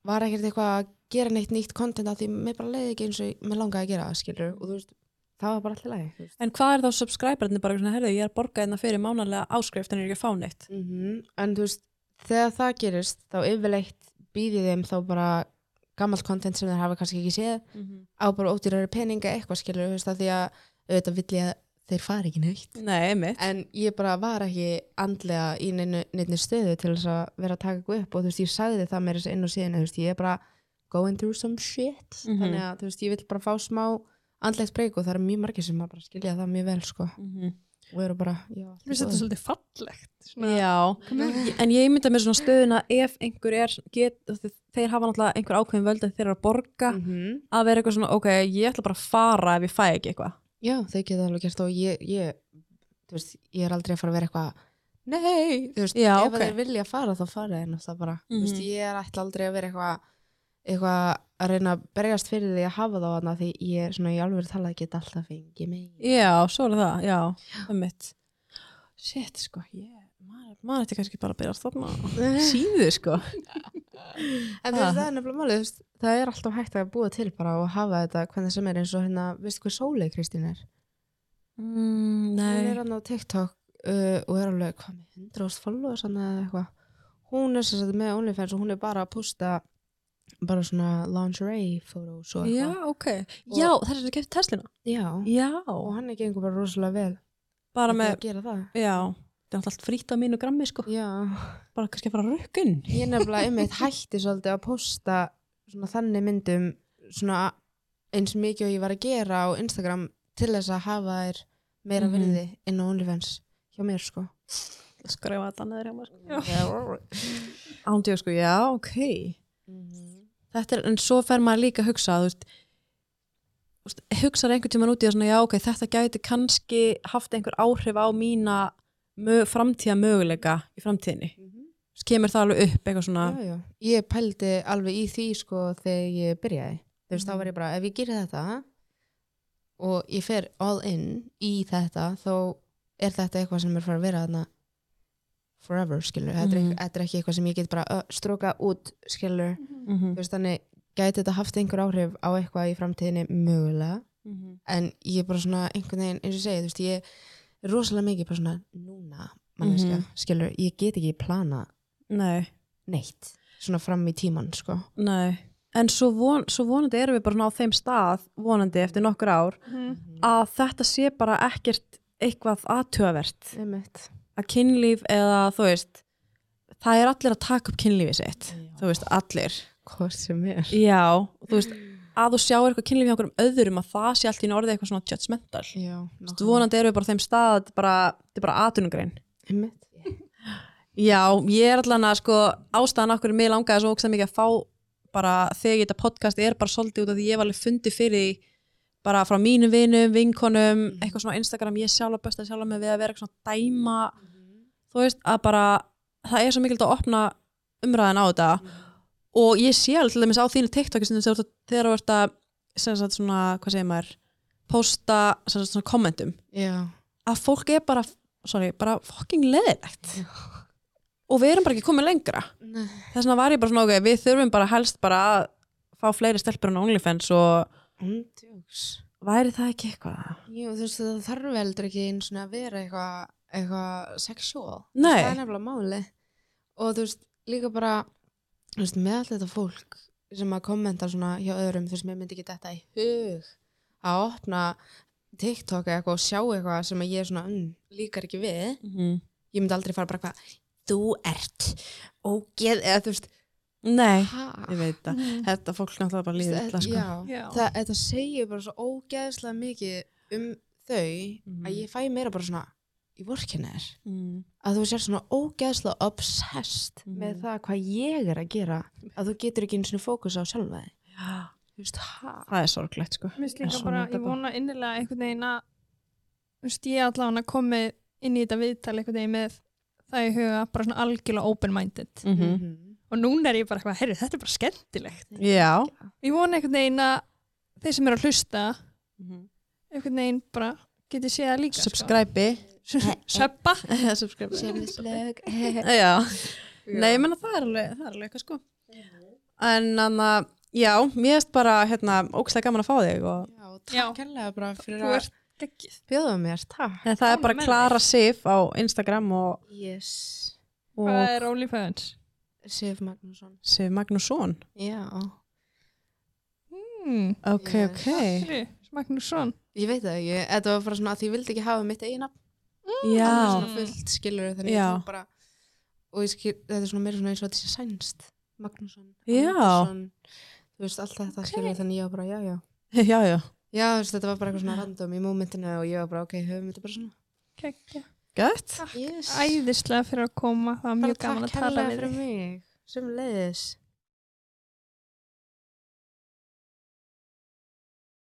var ekkert eitthvað að gera neitt nýtt content af því mér bara leiði ekki eins og mér langaði að gera það, skilur, og þú veist, það var bara alltaf lægi, þú veist. En hvað er þá subscriberinn bara svona, herðu, ég er að borga hérna fyrir mánarlega áskrift en ég er ekki að fá neitt. Mm En þú veist, þegar það gerist, þá yfirleitt býðið þeim þá bara gammalt content sem þeir hafa kannski ekki séð Mhm. á bara ódýrari peninga eitthvað skilur þú veist að því að auðvitað vill ég að þeir fari ekki neitt Nei, mitt. en ég bara var ekki andlega í neinu, neinu stöðu til þess að vera að taka eitthvað upp og þú veist ég sagði það mér þess inn og síðan þú veist ég er bara going through some shit Mhm. þannig að þú veist ég vill bara fá smá andlegt breyku og það eru mjög margir sem að bara skilja það mjög vel sko Mhm. og eru bara já, allt í finnst þetta góðu. svolítið fallegt. Já, en ég mynda mér svona stöðuna ef einhver er, get, þeir hafa náttúrulega einhver ákveðin völd að þeir eru að borga Mhm. að vera eitthvað svona, ok, ég ætla bara að fara ef ég fæ ekki eitthvað. já þau geta alveg gert og ég, ég þú veist ég er aldrei að fara að vera eitthvað nei, þú veist Já, ef ok. okay. þeir vilja fara þá fara þeir náttúrulega bara mm veist, Mhm. ég er ætla aldrei að vera eitthvað eitthvað að reyna að berjast fyrir því að hafa þá hana því ég er svona í alveg tala að geta alltaf fengið mig Já, svo er það, já, um mitt. Shit, sko, ég, maður, maður ætti kannski bara að byrja að stofna síðu, sko. en þú veist það er nefnilega málið þú veist, það er alltaf hægt að búa til bara og hafa þetta hvernig sem er eins og hérna veist hvað Sólei Kristín er Mm, hún er nei. hann á TikTok uh, og er alveg hvað með 100.000 followers hann eða eitthvað hún er sem sagt með OnlyFans og hún er bara að posta bara svona lingerie photos og Já, eitthvað ok. Já, það er svona kæft Teslina. Já. Já. og hann er gengur bara rosalega vel Bara með að með, gera það já, það er alltaf allt frýtt á mínu grammi, sko. Já, Bara kannski að fara að rökkun. ég nefnilega einmitt hætti svolítið að posta svona þannig myndum svona eins mikið og ég var að gera á Instagram til þess að hafa þær meira Mhm. virði inn á OnlyFans hjá mér sko. Skrifa þetta neður hjá maður, sko. Já. Ándjóð, sko, já, ok. Mhm. Þetta er, en svo fer maður líka að hugsa, þú veist, þú veist, hugsar einhvern tíman út í það svona, já, ok, þetta gæti kannski haft einhver áhrif á mína mö, framtíða möguleika í framtíðinni. Þú veist, Kemur það alveg upp eitthvað svona, Mhm. Já, já. Ég pældi alveg í því sko þegar ég byrjaði. Þú veist, þá Mhm. var ég bara, ef ég gerir þetta og ég fer all in í þetta, þá er þetta eitthvað sem er fara að vera þarna forever, skilur. Þetta, er, Mhm. þetta er ekki eitthvað sem ég get bara uh, stróka út, skilur. mm Þú veist, þannig gæti þetta haft einhver áhrif á eitthvað í framtíðinni mögulega. En ég er bara svona einhvern veginn, eins og ég segi, þú veist, ég er rosalega mikið bara svona núna, manneska, Mhm. skilur. Ég get ekki planað Nei, neitt svona fram í tíman sko nei. En svo, von, svo vonandi erum við bara svona á þeim stað, vonandi eftir nokkur ár, Mhm. Mhm. að þetta sé bara ekkert eitthvað aðtöfavert. einmitt Að kynlíf eða, þú veist, það er allir að taka upp kynlífið sitt. Já. Þú veist, allir. hvað sem er Já, og þú veist, að þú sjáir eitthvað kynlíf hjá einhverjum öðrum að það sé allt í einu orðið eitthvað svona judgmental. Þú já, veist, vonandi erum við bara á þeim stað, að þetta er bara, þetta er bara aðtunugrein. einmitt Já, ég er allan að sko ástæðan okkur mér langaði svo ógstæð mikið að fá bara þegar ég þetta podcast er bara svolítið út af því ég var alveg fundi fyrir því bara frá mínum vinum, vinkonum, Mhm. eitthvað svona á Instagram, ég sjálf að besta sjálf með við að vera eitthvað svona dæma, þú veist, að bara það er svo mikilvægt að opna umræðan á þetta og ég sé alveg til dæmis á þínu TikToki sem þú ert að, þegar þú ert að sem sagt svona, hvað segir maður posta sem sagt svona kommentum já, að fólk er bara, sorry, bara fucking leðilegt og við erum bara ekki komið lengra Nei. þess vegna var ég bara svona, ok, við þurfum bara helst bara að fá fleiri stelpur en OnlyFans og Andjóks. væri það ekki eitthvað? Jú, þú veist það þarf heldur ekki einu svona að vera eitthvað eitthvað sexual Nei. það er nefnilega máli og þú veist líka bara þú veist með allt þetta fólk sem að kommenta svona hjá öðrum þú veist mér myndi ekki þetta í hug að opna TikTok eða eitthvað og sjá eitthvað sem að ég er svona mm, líkar ekki við Mm -hmm. ég myndi aldrei fara bara hvað þú ert ógeð eða þú veist Nei, Ha? ég veit það. Þetta fólk náttúrulega bara líður illa, sko. Já. Já. Það, þetta segir bara svo ógeðslega mikið um þau Mhm. að ég fæ meira bara svona í vorkinni er Mm. að þú sér svona ógeðslega obsessed Mhm. með það hvað ég er að gera að þú getur ekki einu svona fókus á sjálfa þig þú veist, ha? Það er sorglegt, sko. Mér finnst líka Svona bara, þetta ég bara. vona innilega einhvern veginn að þú veist, ég allan að komi inn í þetta viðtal einhvern veginn með það í huga bara svona algjörlega open-minded Mm Mhm. og núna er ég bara eitthvað, herri, þetta er bara skemmtilegt Já. ég vona einhvern veginn að þeir sem eru að hlusta Mm Mhm. -hmm. einhvern veginn bara geti séð það líka Subscribe. sko. Söppa Subscribe. Sjöfnislög Já. Nei, ég menna það er alveg, það er alveg eitthvað, sko. Mhm. En anna, já, mér erst bara, hérna, ógstlega gaman að fá þig og Já, Já. takk hérlega bara fyrir Þú að ert geggið bjóða mér, takk En það er Ánægð bara með Klara Sif á Instagram og, Yes, Hvað og er OnlyFans? Sif Magnússon Sif Magnússon. Já, Hmm, Ok, Yes. ok. Siri, Magnússon ég veit það ekki Þetta var bara svona að því ég vildi ekki hafa mitt eigin nafn alveg Já. svona fullt skilur þannig Já. ég tók bara og ég skil, þetta er svona meira svona eins og þetta sé sænst Magnússon, Já. Andersson þú veist, allt þetta okay. skilur þannig ég var bara, já, já Já, já. Já, þú veist, þetta var bara eitthvað svona random í mómentinu og ég var bara, ok, höfum þetta bara svona Geggja. Gött. yes. Æðislega fyrir að koma, það var mjög gaman að tala við þig Takk hérlega fyrir mig, sem leiðis